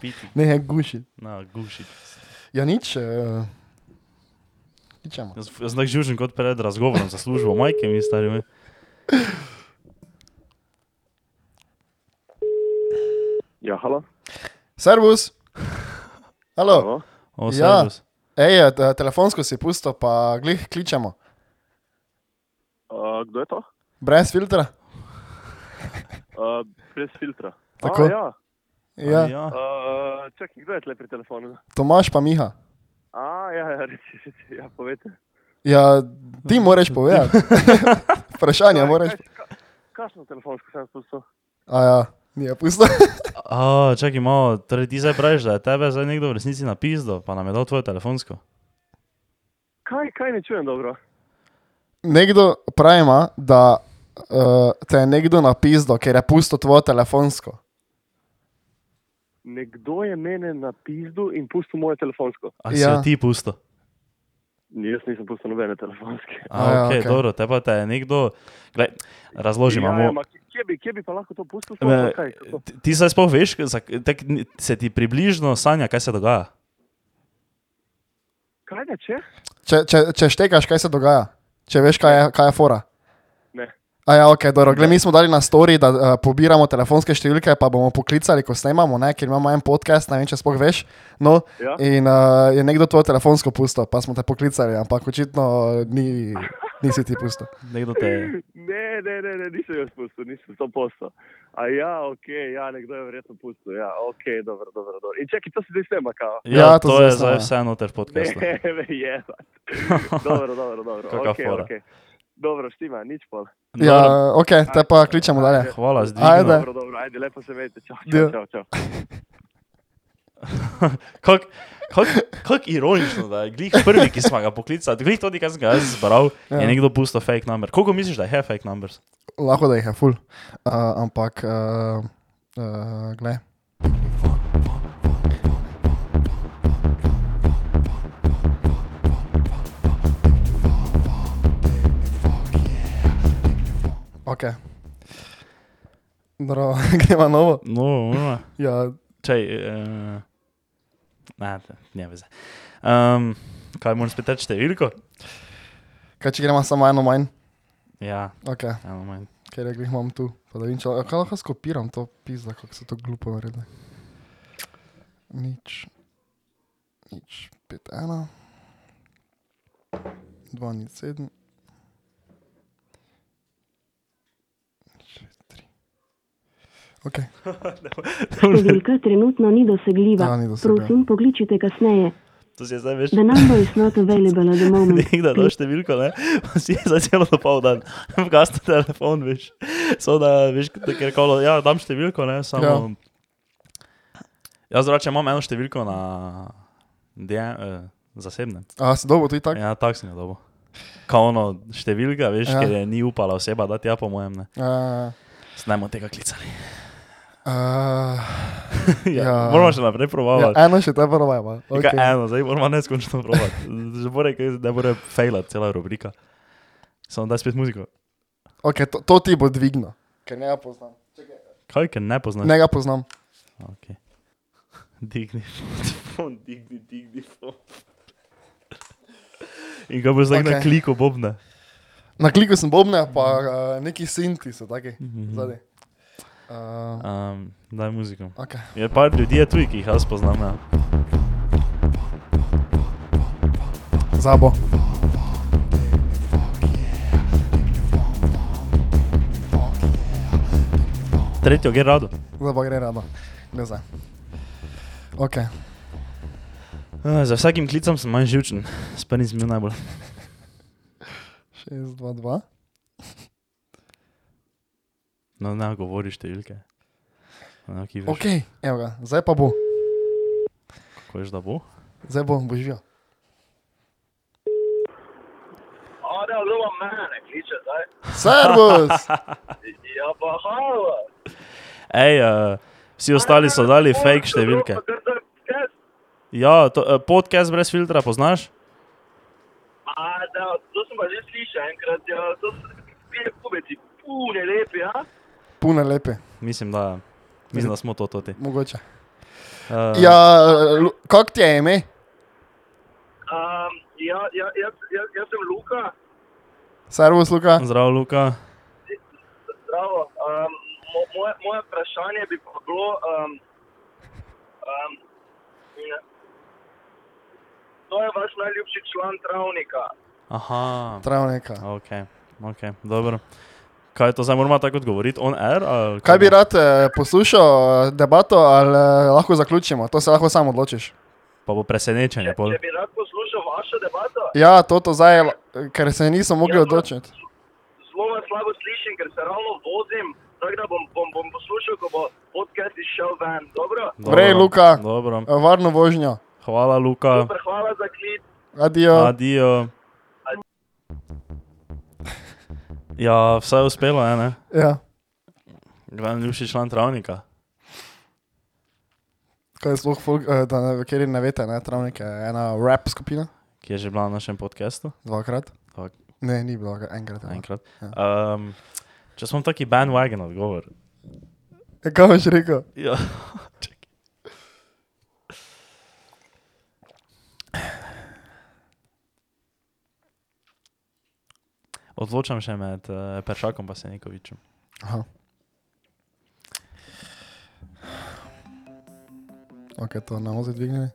Biti
Ne, je guši.
na guši.
Ja, nič. Uh, Ičemo.
Jaz jaz sem tako žužen kot pred razgovorom za službo, majke mi stari. moj.
Ja, halo.
Servus! Halo,
Halo.
O,
Ja.
servus.
Ej, te- telefonsko si pusto, pa glih kličemo.
Uh, kdo je to?
Brez filtra.
Uh, brez filtra.
Tako.
A, ja.
A
Ja,
ja.
uh, čakaj, kdo je tle pri telefonu?
Tomaš pa Miha.
A, ja, ja, res, res, res, ja povete.
Ja, ti moraš povedati. Vprašanje
Kaj-
moraš.
kaj- ka- Kakšno telefonsko sem spustil?
A ja, nije pusto.
A, čakaj malo, torej ti zdaj praviš, da je tebe zdaj nekdo v resnici napisal, pa nam je dal tvoje telefonsko.
Kaj, kaj ne čujem dobro?
Nekdo pravima, da uh, te je nekdo napisal, ker je pusto tvoje telefonsko.
Nekdo je mene na pizdu in pustil moje telefonsko.
A si
Ja.
ja. jo ti pusto?
Jaz nisem pustil nobene telefonske.
A,
A ja,
ja, okay,
okej.
okay. dobro, te pa te je nekdo. Glej, razložim,
ja, ja,
imamo.
ma, kje, bi, kje bi pa lahko to pustil? sploh,
Me-
pa kaj, kako?
Ti- Ti zdaj sploh veš, zak- tak, ni- se ti približno sanja, kaj se dogaja.
Kaj ne če?
Če, če, če štekaš, kaj se dogaja, če veš, kaj je, kaj je fora.
Ne.
A ja, ok, dobro. Glej, mi smo dali na story, da uh, pobiramo telefonske številke, pa bomo poklicali, ko snemamo, ne, ker imamo en podcast, ne vem, če sploh veš. No,
Ja.
in uh, je nekdo tvoje telefonsko pusto, pa smo te poklicali, ampak očitno eh, ni, nisi ti pusto.
Nekdo te,
Ne, ne, ne, ne, nisem jaz pustil, nisem to posel. A ja, ok, ja, nekdo je verjetno pustil. Ja, ok, dobro, dobro. dobro. In čakaj, to se zdaj snema, kao.
ja, ja, to, to je
zdaj
zdaj
sanja.
vse noter v podkastu.
Ne, ne, je. Dobro, dobro, dobro.
Kaka
ok,
fora.
ok. Dobro, štima, nič pol.
Dobro,
Ja, ok, te pa kličemo dalje.
Hvala,
Ajde.
zdvignil.
Dobro, dobro, ajde, lepo se vedite. Čau,
Ja.
čau, čau, čau.
Kako kak, kak ironično, da je glih prvi, ki smo ga poklicali, glih tudi, kar sem ga jaz zbral, ja.
Ja.
je nekdo pusto fake number. Koliko misliš, da je fake numbers?
Lahko da jih je full, uh, ampak uh, uh, glej. Ok. Dobro, gremo novo.
No, no.
Ja,
Čaj, uh, ne, ne veze. Um, kaj moram spet reči, številko?
kaj če gremo samo eno manj?
Ja,
Ok,
eno manj.
ker jih imam tu. Pa da vidim, če a kaj lahko skopiram to pizda, kako so to glupo naredili. Nič. Nič. 5, 1. 2, nič 7. Ok,
Številka trenutno ni dosegljiva.
Torej. Ja, ni dosegljiva.
Prosim, pokličite kasneje.
To si je zdaj več.
The number is not available at the moment.
Nekdo da številko, ne? pa si je za celo dopoldan, gasno telefon, veš. So da, veš, da ker kolo, ja, dam številko, ne, samo. Ja. Jaz rače imam eno številko na DM, eh, zasebnem.
a si dobil tudi tako?
Ja, tak sem jo dobil. Kao ono številka, veš,
Ja.
ja. ker je ni upala oseba, da ti ja po mojem ne.
Ja.
Snajmo tega klicali.
Uh,
ja.
Ja.
Moramo še naprej
ja,
provati. Ja,
eno še te provajava.
okay.
Okay.
Eno, zdaj moramo neskončno provati. Že bore, da bo fejla cela rubrika. Samo daj spet muziko.
Okay, to, to ti bo dvigno, ker ne ga poznam.
Kaj, ker ne poznaš?
Ne ga poznam.
Okay. Digni fon, digni, digni fon. In ga boš zdaj okay. na
Okej.
kliku bobne.
Na kliku sem bobne, pa uh, neki sinti so taki. Zadaj. Uh,
Um, daj muziko.
okay.
Je par ljudi je tuj, ki jih jaz poznam. Ja.
Zabo.
Tretjo, gre rado.
Zdaj pa gre rado. Ne znam. Okay.
Uh, za vsakim klicem sem manj živčen, spani sem bil najbolj.
6, 2, 2.
No, ne govori številke. No, ki veš,
Ok, evo ga, zdaj pa bo.
kako veš, da bo.
Zdaj bo, bo živel.
Ode, ljuba mene, kliče, zdaj.
Servus!
Ja, pa hvala.
Ej, uh, vsi ostali so dali fake številke. Ja, to, uh, podcast brez filtra poznaš?
A, da, to sem pa že slišal enkrat, ja, to so te kubeci, pune lepi, ja.
Pune lepe,
Mislim, da, mislim, da smo to toti.
mogoče.
Uh,
Ja, Lu- kak ti je ime?
Um, ja, ja, jaz, jaz, jaz sem Luka,
Servus, Luka.
Zdravo, Luka.
zdravo. Um, mo, moje, moje vprašanje bi pa bilo, um, um, ne. to je vaš najljubši član travnika.
Aha,
Travnika.
ok, ok, dobro. Kaj to zdaj moramo tako odgovoriti? On air? ali
Kaj bi
kako?
rad eh, poslušal, eh, debato ali eh, lahko zaključimo? To se lahko sam odločiš.
Pa bo presenečenje. Pol.
Če bi rad poslušal vašo debato,
Ja, to, to zdaj, je la- ker se nisem mogel
Ja,
odločiti.
zelo vas slabo slišim, ker se ravno vozim, tako da bom, bom, bom poslušal, ko bo podcast izšel ven. Dobro?
Dobro,
Vrej, Luka.
Dobro.
Eh, Varno vožnjo.
Hvala, Luka.
Super, hvala za klip.
Adijo.
Adijo. Ja, vse je uspelo, a ne?
Ja,
Glavni ljubši član travnika.
kaj je sploh, folk, eh, da ne, kjer ne veste, ne, Travnik je ena rap skupina,
ki je že bila na našem podkastu,
dvakrat.
Tak.
Ne, ni bilo, enkrat. ja. enkrat.
enkrat. Um, če smo taki bandwagon odgovor.
E, Kaj boš rekel?
Ja. Odločam še med uh, Peršakom in Senikovičem.
Aha. Ok, to ne bomo zdaj dvignili.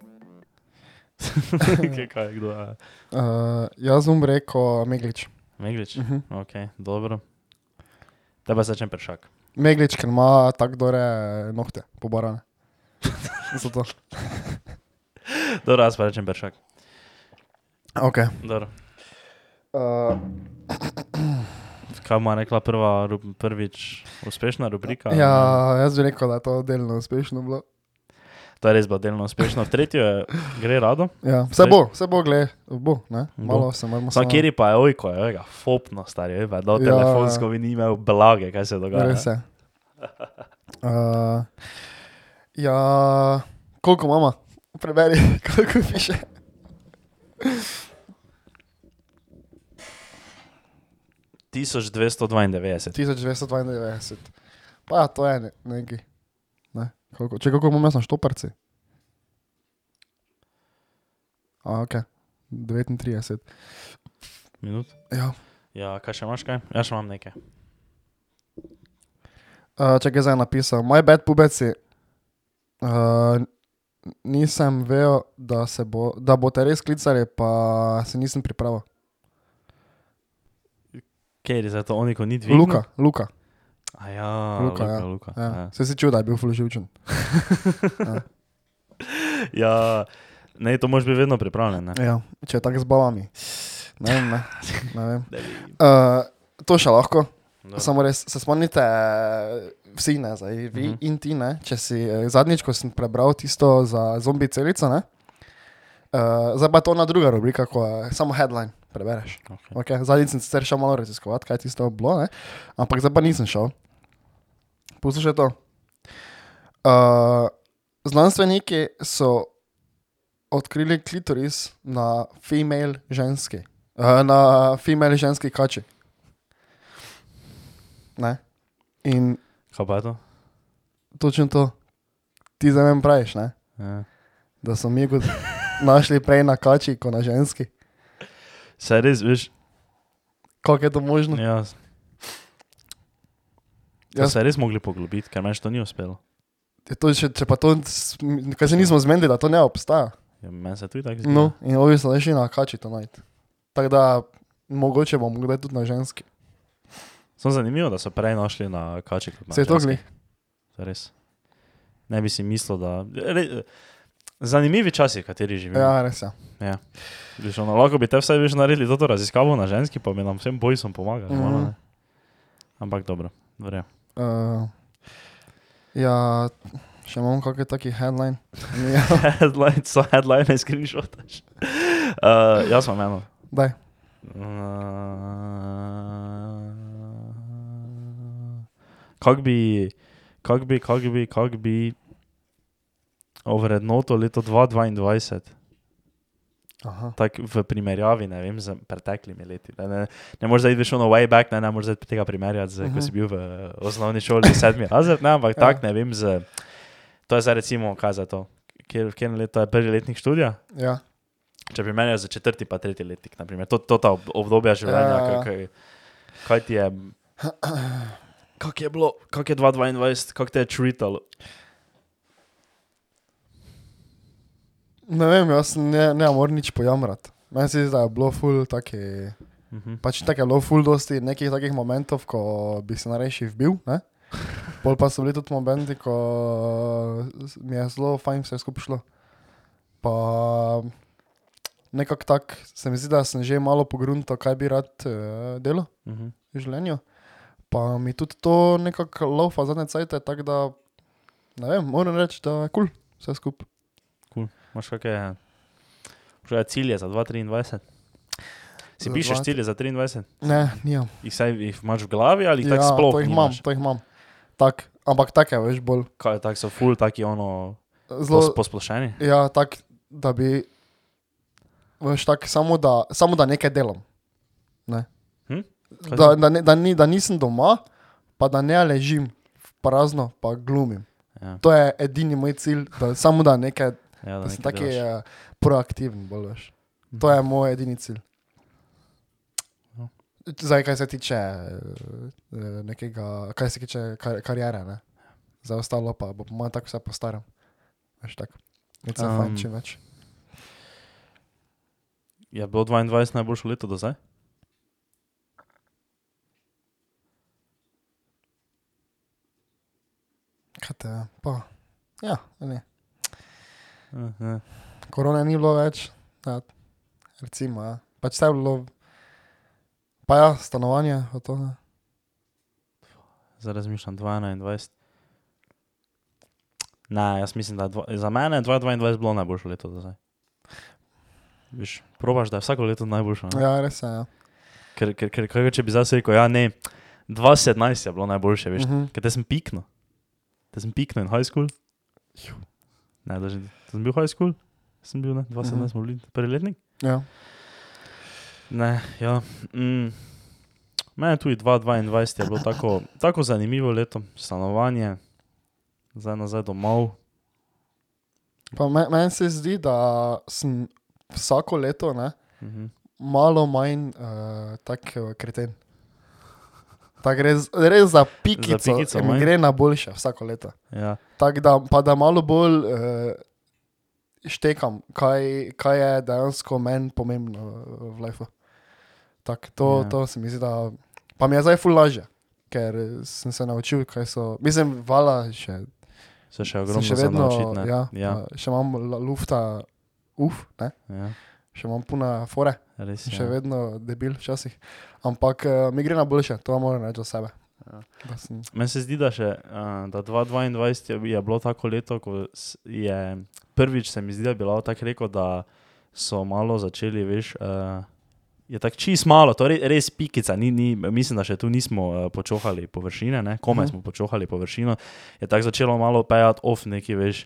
Kaj, Kaj, kdo eh, je?
Uh, jaz bom rekel Meglič.
Meglič.
Uh -huh.
Ok, dobro. Tebe začne Peršak.
Meglič, ker ima tako dore nohte, pobarane. Zato.
Dobro, jaz pa rečem Peršak.
Ok.
Dobro.
Uh,
Kaj mu je rekla prva, ru- prvič uspešna rubrika?
ja, jaz bi rekel, da je to delno uspešno bilo.
To je res bilo delno uspešno. V tretjo je, gre rado.
Ja, vse bo, vse bo, gled, bo, ne? Malo se moramo
Sam kjer pa je ojko, je ga fopno star, je vedno ja.
Ja.
telefonsko in ni imel blage, kaj se dogaja.
Res je. Uh, ja, koliko mama? Preberi, koliko piše.
je. 1292.
1992. Pa ja, to je ne, neki. Ne, koliko, če kako imam jaz na štoparci? A, ok. 39.
Minut.
Ja.
Ja, kaj še imaš kaj? Ja, še imam nekaj.
Uh, če ga zdaj napisal, moj bed pubeci. Uh, nisem vedel, da, se bo, da boste res klicali, pa se nisem pripravil.
Kjer je zato oni, ko ni dve?
Luka, Luka.
A ja, Luka,
Luka, é.
Luka.
ja.
Luka. é.
Ja. Ja. Se si čudil, da je bil fulživčen.
Ja. ja, ne, to moraš biti vedno pripravljen. Ne?
Ja. Če je tako z bavami. Ne vem, ne. ne vem. Uh, to še lahko.
Dobro.
Samo res se spomnite, vsi ne, zdaj, vi uh
Mhm.
-huh. in ti ne. Če si eh, zadnjič, ko sem prebral tisto za zombi celico, ne. Uh, zdaj pa je to na druga rubrika, ko je samo headline prebereš.
Okay.
Okay. Zadnjič sem sicer šel malo raziskovati, kaj je tisto bilo, ne? ampak zdaj pa nisem šel. Poslušaj to. Uh, znanstveniki so odkrili klitoris na female ženski, uh, na female ženski kači. Ne? In
Kaj pa je to?
točno to, ti za meni praviš, ne?
Ja.
da so mi kot našli prej na kači, kot na ženski.
Se res, veš,
Kako je to možno?
ja,
Jaz-
Jaz... se res mogli poglobiti, ker meni še to ni uspelo.
Je To, če, če pa to, s- m, kaj se nismo zmedili, da to ne obstaja.
Ja, meni se tudi tako zdi. ja.
No, in ovi so šli na kači to najti. Tako da mogoče bomo kdaj tudi na ženski.
Sem zanimivo, da so prej našli na kači kot na
Se je to
ženski.
gli.
Res. Ne bi si mislil, da. Re, zanimivi časi, v kateri živimo. Ja.
Ja, res je.
Viš, ono, lahko bi te vsaj več naredili, to raziskavo na ženski, pa bi nam vsem bojcem pomagali. Mm
Mhm.
-hmm. Ampak dobro, verjamem.
Uh, ja, še imamo kakšen taki headline. Ja,
headline, so headline, screenshotaš. Uh, jaz sem eno. Eh,
daj.
Kako bi, kako bi, kako bi, kako bi ovrednotil leto 2022?
Aha.
Tako v primerjavi ne vem, z preteklimi leti. Ne, ne, ne moreš zdaj več ono way back, ne, ne moreš zdaj tega primerjati, z, uh -huh. ko
Mhm.
si bil v eh, osnovni šoli, sedmi razred, ne, ampak
Ja.
ja. tako ne vem. Z, to je zdaj recimo, kaj za to. Kjer, kjer leto je prvi letnik študija?
Ja.
Če primerjaš za četrti pa tretji letnik, naprimer, to, to ta ob- obdobja življenja,
Ja, ja, ja.
ja. kaj, kaj ti je. Kako je bilo, kako je 2022, kako te je čutilo?
Ne vem, jaz ne, ne morem nič pojamrati. Meni se zdi, da je bilo ful taki,
Uh -huh.
pač tako je bilo ful dosti nekih takih momentov, ko bi se nareši vbil, ne? Pol pa so bili tudi momenti, ko s- mi je zelo fajn vse skupaj šlo. Pa nekako tako, se mi zdi, da sem že malo pogrunto, kaj bi rad uh, delal.
Uh -huh.
v življenju. Pa mi tudi to nekako laufa zadnje cajtke, tako da ne vem, moram reči, da je kul, cool, vse skupaj.
Imaš kakšne kakšne cilje za 2023? Si
Za
pišeš
20
cilje za 23?
Ne, nimam.
Jih, saj, jih imaš v glavi ali jih tako sploh?
Ja, to jih imam,
nimaš?
to jih imam. Tak, ampak tako je, veš, bolj.
Kaj, tako so ful, taki ono, pos,
Zelo,
posplošeni.
ja, tak, da bi, veš, tak, samo, da, samo da nekaj delam. Ne.
Hm? Kaj
Da,
si-
da, ne, da, ni, da nisem doma, pa da ne ležim v prazno, pa glumim.
Ja,
To je edini moj cilj, da, samo da nekaj Mhm.
ja,
Da
da
sem taki
je.
uh, proaktiven, bolj veš. To je moj edini cilj.
No.
Zdaj, kaj se tiče eh, nekega, kaj se tiče kar, karijere, ne? za ostalo pa bo malo tako vse po starem. Veš tako. Nič um, fajn,
Am.
čim več.
Je Ja, bilo 22 najboljše leto do zdaj?
Kaj te, pa. Ja, ne.
Uh -huh.
Korone ni bilo več, ja, recimo, ja. pač vse je bilo, pa ja, stanovanje, pa to, ne.
Zdaj razmišljam 2021. Ne, jaz mislim, da je dva, za mene je 2022 bilo najboljše leto do zdaj. Viš, probaš, da je vsako leto najboljše. ne?
ja, res je. Ja.
Ker, ker, ker, ker če bi zdaj rekel, ja, ne, 2017 je bilo najboljše, veš,
Mhm.
ker te sem pikno. Te sem pikno in high school. Ne, da že sem bil high school, sem bil, ne, 2017
Mhm.
smo bili prvi letnik.
Ja.
Ne, ja. Mm. Mene je tudi 2022 je bilo tako, tako zanimivo leto, stanovanje, zdaj nazaj domov.
Pa me- Meni se zdi, da sem vsako leto ne,
Mhm.
malo manj uh, tak eh, kreten. Tako res, res za pikico, za
pikico
pikico mi
manj.
gre na boljše vsako leto.
Ja.
Tako da, pa da malo bolj uh, štekam, kaj, kaj je dejansko meni pomembno eh, v lifeu. Tak, to,
Ja.
yeah. to se mi zdi, da pa mi je zdaj ful lažje, ker eh, sem se naučil, kaj so. Mislim, vala še
Se še
Sem
ogromno
še
za
vedno,
naučiti, ne.
ja,
ja,
pa še imam la- lufta, uf, ne?
ja,
še imam puna fore,
res.
sem še
Ja.
vedno debil včasih. Ampak uh, mi gre na boljše, to moram reči za sebe.
Ja.
Da sem,
Meni se zdi, da, še, uh, da 2022 je, je bilo tako leto, ko s- je prvič se mi zdi, da je bilo tako reko, da so malo začeli, veš, uh, Je tako čist malo, to je res pikica. Ni, ni, mislim, da še tu nismo eh, počohali površine, ne? komaj uh -huh. smo počohali površino. Je tako začelo malo pejati off neki, veš,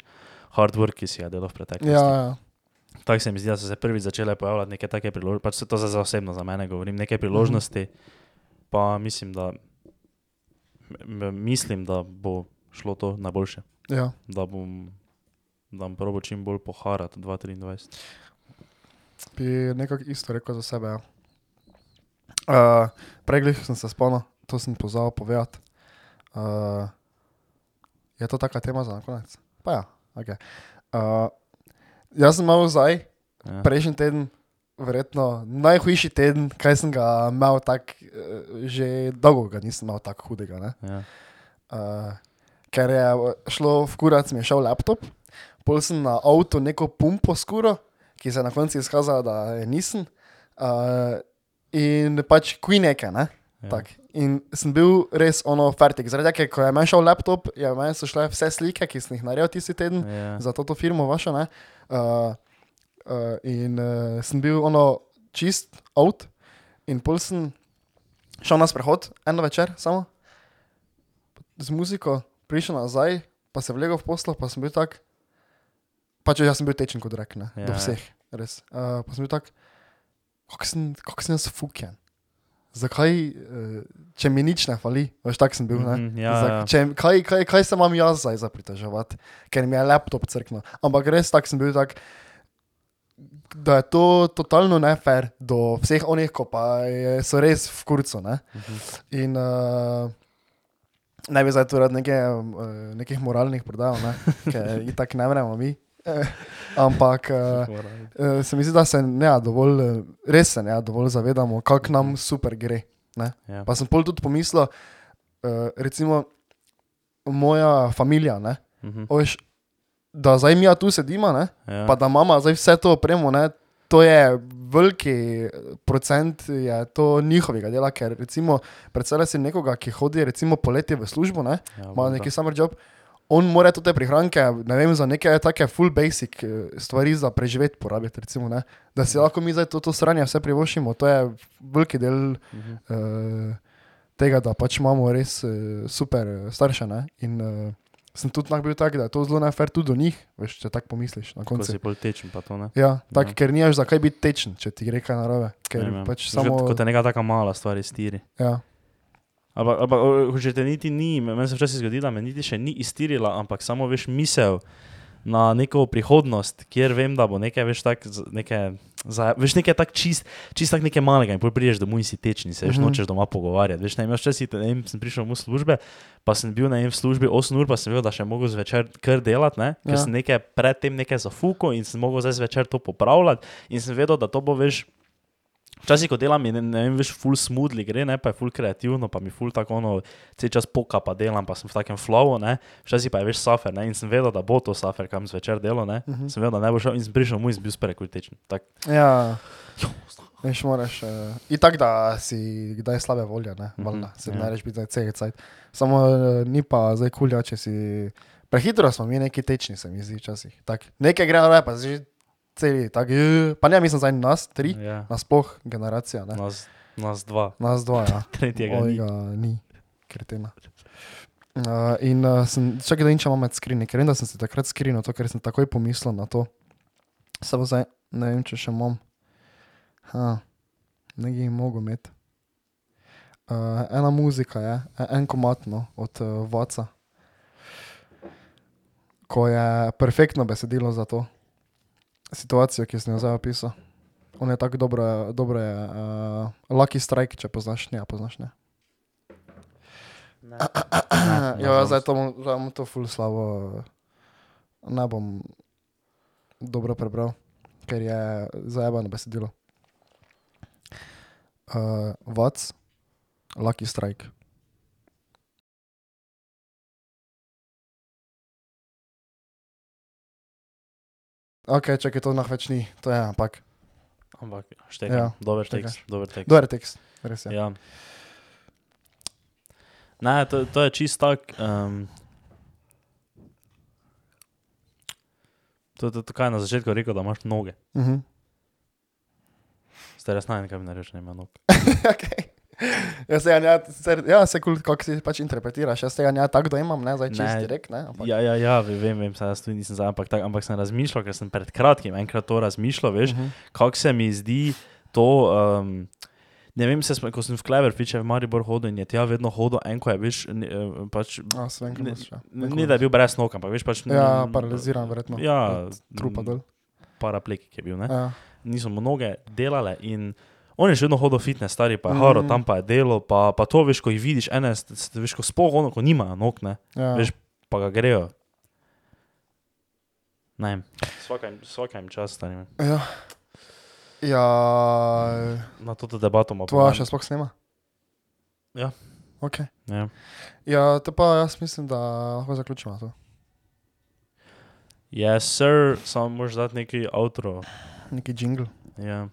hard work, ki si ga delal v preteklosti.
Ja, ja.
Tako se mi zdi, da so se prvič začele pojavljati neke take priložnosti, pač se to za za osebno za mene govorim,
Mhm.
neke priložnosti, pa mislim, da, m- m- mislim, da bo šlo to na boljše,
ja.
da bom, da bom probo čim bolj poharati 2023.
Bi nekako isto rekel za sebe. Ja. Uh, Preglih sem se spomnil, to sem pozabil povedati. Uh, je to taka tema za na konec? Pa ja, ok. Uh, jaz sem imel zdaj,
Ja.
prejšnji teden, verjetno najhujši teden, kaj sem ga imel tako, uh, že dolgo ga nisem imel tako hudega. Ne?
Ja.
uh, ker je uh, šlo v kurac, mi je šel laptop, pol sem na avto neko pumpo skuro, ki se je na koncu izkazala, da je nisem. Uh, in pač kui nekaj, ne?
Ja.
Tak. In sem bil res ono fertik. Zaradi tega, ker ko je meni šel laptop, je meni so šle vse slike, ki sem jih naredil tisti teden
Ja.
za to firmo vašo. ne. Uh, uh, in uh, sem bil ono čist out, in pol sem šel na sprehod, eno večer samo, z muziko, prišel nazaj, pa se vlegel v poslo, pa sem bil tak. Pač jaz sem bil tečen kot rek, ne,
Ja,
ja, do
ja.
vseh, res. Uh, pa sem bil tak, kako sem, kako sem jaz fukjen. Zakaj, eh, če mi nič ne fali, veš, tak sem bil. ne.
Mhm, ja,
Za-
ja.
Če, kaj, kaj, kaj se imam jaz zdaj zapriteževati, ker mi je laptop crknil. Ampak res tak sem bil tak, da je to totalno nefer do vseh onih, ko pa je, so res v kurcu. Ne?
Mhm.
In uh, ne bi zdaj tu rad neke, eh, nekih moralnih predajal, ne? ker jih tako ne vremo mi. Eh, Ampak eh, eh, se mi zdi, da se ne ja, dovolj, eh, res se ne ja, dovolj zavedamo, kako nam super gre. Ne?
Mhm. Ja.
Pa sem pol tudi pomislil, uh, recimo, moja družina, ne.
Mhm.
Veš, da zdaj mi tu sedimo, ne,
Ja.
pa da mama zdaj vse to opremo, ne, to je veliki procent je to njihovega dela, ker recimo predstavljaj si nekoga, ki hodi recimo poletje v službo, ne,
Ja,
ima
valjda.
neki summer job, on mora tudi te prihranke, ne vem, za neke take full basic eh, stvari za preživeti porabiti, recimo, ne, da
Mhm.
si lahko mi zdaj to, to sranje vse privoščimo, to je veliki del
Mhm.
eh, tega, da pač imamo res eh, super eh, starše. Ne? In eh, sem tudi lahko bil tak, da je to zelo nefer tudi do njih, veš, če tako pomisliš na
Ko si
koncu.
bolj tečen, pa to ne.
Ja, tak,
Ja.
ja. ker nimaš zakaj biti tečen, če ti gre kaj narobe. Ker
Ne vem.
pač
Že
samo.
Kot je neka taka mala stvar iz tiri.
Ja,
Ampak, ampak o, hočete, niti ni, me- meni se včasih zgodi, da me niti še ni iztirila, ampak samo veš misel na neko prihodnost, kjer vem, da bo nekaj, veš, tak, z- neke, za, veš, nekaj tak čist, čist tak nekaj malega in potem prideš domov in si tečni, se veš,
Mhm.
nočeš doma pogovarjati. Veš, ne vem, jaz včasih, ne vem, sem prišel v službe, pa sem bil, ne vem, v službi 8 ur, pa sem vedel, da še mogo zvečer kar delati, ne,
Ja.
ker sem nekaj predtem nekaj zafuko in sem mogel zdaj zvečer to popravljati in sem vedel, da to bo, veš, Včasih, ko delam, mi ne, ne vem, veš, full smudli gre, ne, pa je full kreativno, pa mi full tako ono, vse čas poka, pa delam, pa sem v takem flowu, ne, včasih pa je veš safer, ne, in sem vedel, da bo to safer, kam zvečer delo, ne, uh -huh.
Mhm.
sem vedel, da ne bo šel in sem prišel mu in sem bil sprekultičen. Tak,
ja. Veš, moraš. Uh, in tako, da si kdaj slabe volje, ne, valjda, se
ja.
ne rečeš biti zdaj cel cajt. Samo eh, ni pa zdaj kulja, če si. Prehitro smo mi neki tečni, se mi zdi včasih. Tak, nekaj gre narobe, pa si že celi, tak, eh, pa ne, mislim, zdaj nas tri,
ja, No.
nasploh generacija, ne?
nas, nas dva,
nas dva, ja.
tretjega ni.
Mojega ni, kretena. Uh, in uh, sem, čakaj, da in če imam med skrini, ker vem, da sem se takrat skrinil, to, ker sem takoj pomislil na to. Samo zdaj, ne vem, če še imam. Ha, ne bi jih mogel imeti. Uh, ena muzika je, e- en komatno od uh, Vaca, ko je perfektno besedilo za to situacijo, ki sem jo zdaj opisal. On je tako dobro, dobro je, uh, Lucky Strike, če poznaš, ne, a poznaš ne.
Ne,
Ja,
nažalost.
zdaj to bom, zdaj bom to ful slabo, ne bom dobro prebral, ker je zajebano besedilo. Uh, Vac, Lucky Strike. Ok, čakaj, to nah več ni, to je ampak.
Ampak,
Ja,
štekam, dober tekst,
štekaš.
dober tekst.
Dober tekst, res je.
Ja. Ne, to, to je čist tak. Um, to je to, to, kaj je na začetku rekel, da imaš noge.
Mhm.
Zdaj res ne vem, kaj mi nareče, ne manop.
okay. Ja, se, ja, sicer, ja, se kul, kako si pač interpretiraš, jaz tega ne tako dojemam, ne, zdaj čist
Ne.
direkt, ne, ampak ja.
Ja, ja, ja, ve- vem, vem, saj jaz tu nisem za, ampak, tak, ampak sem razmišljal, ker sem pred kratkim enkrat to razmišljal, veš, uh
Mhm.
-huh. kako se mi zdi to. Um, Ne vem, se, smo- ko sem v Kleverfiče v Maribor hodil in je tja vedno hodil en, ko je veš, ne, eh, pač,
A, se vem, kaj
Ne-
misliš, ja.
ne, ne da je bil brez nog, ampak veš pač.
Ja,
mm,
paraliziran verjetno.
Ja,
Trupa dol.
Paraplegik je bil, ne?
Ja.
niso mu noge delale. In on je še vedno hodil fitness, stari pa je
Mhm.
mm. haro, tam pa je delo, pa, pa to veš, ko jih vidiš, ene, s- s- veš, ko spoh ono, ko nimajo nog, ne,
Ja.
ja. veš, pa ga grejo. Ne, vsakem čas, stari.
Ja. ja,
Na to debato imamo.
tvoja še sploh snema?
Ja.
Okay.
Ja.
Ja, to pa jaz mislim, da lahko zaključimo to.
Yes, sir, samo moraš dati neki outro.
Neki jingle.
Ja.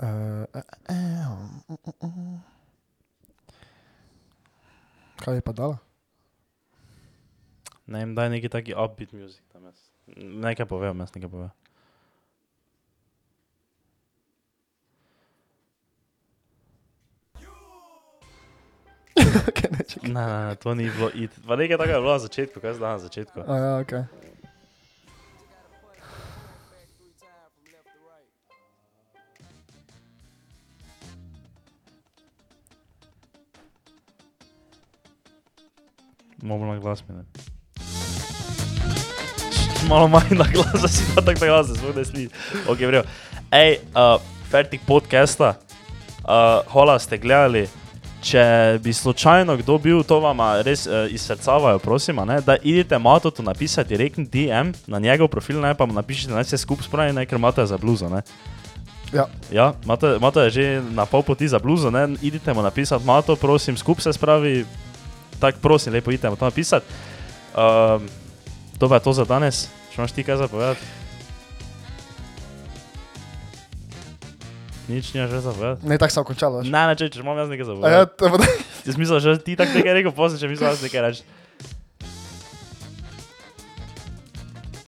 Uh, kaj je pa dala?
Ne vem, daj neki taki upbeat music tam jaz. Nekaj povejo, jaz nekaj povejo.
Kaj ne, čakaj.
Ne, ne, ne, to ni bilo it. Pa nekaj takega je bilo na začetku, kaj zdaj na začetku.
A ja, okay.
Malo na glas mi ne. Malo manj na glas, da si pa tako na glas, da smo desni. Ok, vrejo. Ej, uh, fertik podcasta, uh, hola ste gledali. Če bi slučajno kdo bil, to vam res uh, iz srca vajo, prosim, a ne, da idite Mato tu napisati direktni DM na njegov profil, ne pa mu napišite, naj se skupaj spravi, ne, ker imate za bluzo. Ne.
Ja,
Ja, Mato, Mato je že na pol poti za bluzo, ne? idite mu napisati, Mato, prosim, skupaj se spravi, tako prosim, lepo idite mu to napisati. Um, to pa je to za danes, če imaš ti kaj zapovedati. Nič ni že zapovedati.
ne tako sem končal. veš.
Ne, ne, če, če imam jaz nekaj
A Ja,
zapovedati.
to bo-
Jaz mislim, že ti tako nekaj rekel, posem, če mislim, da jaz nekaj rečem.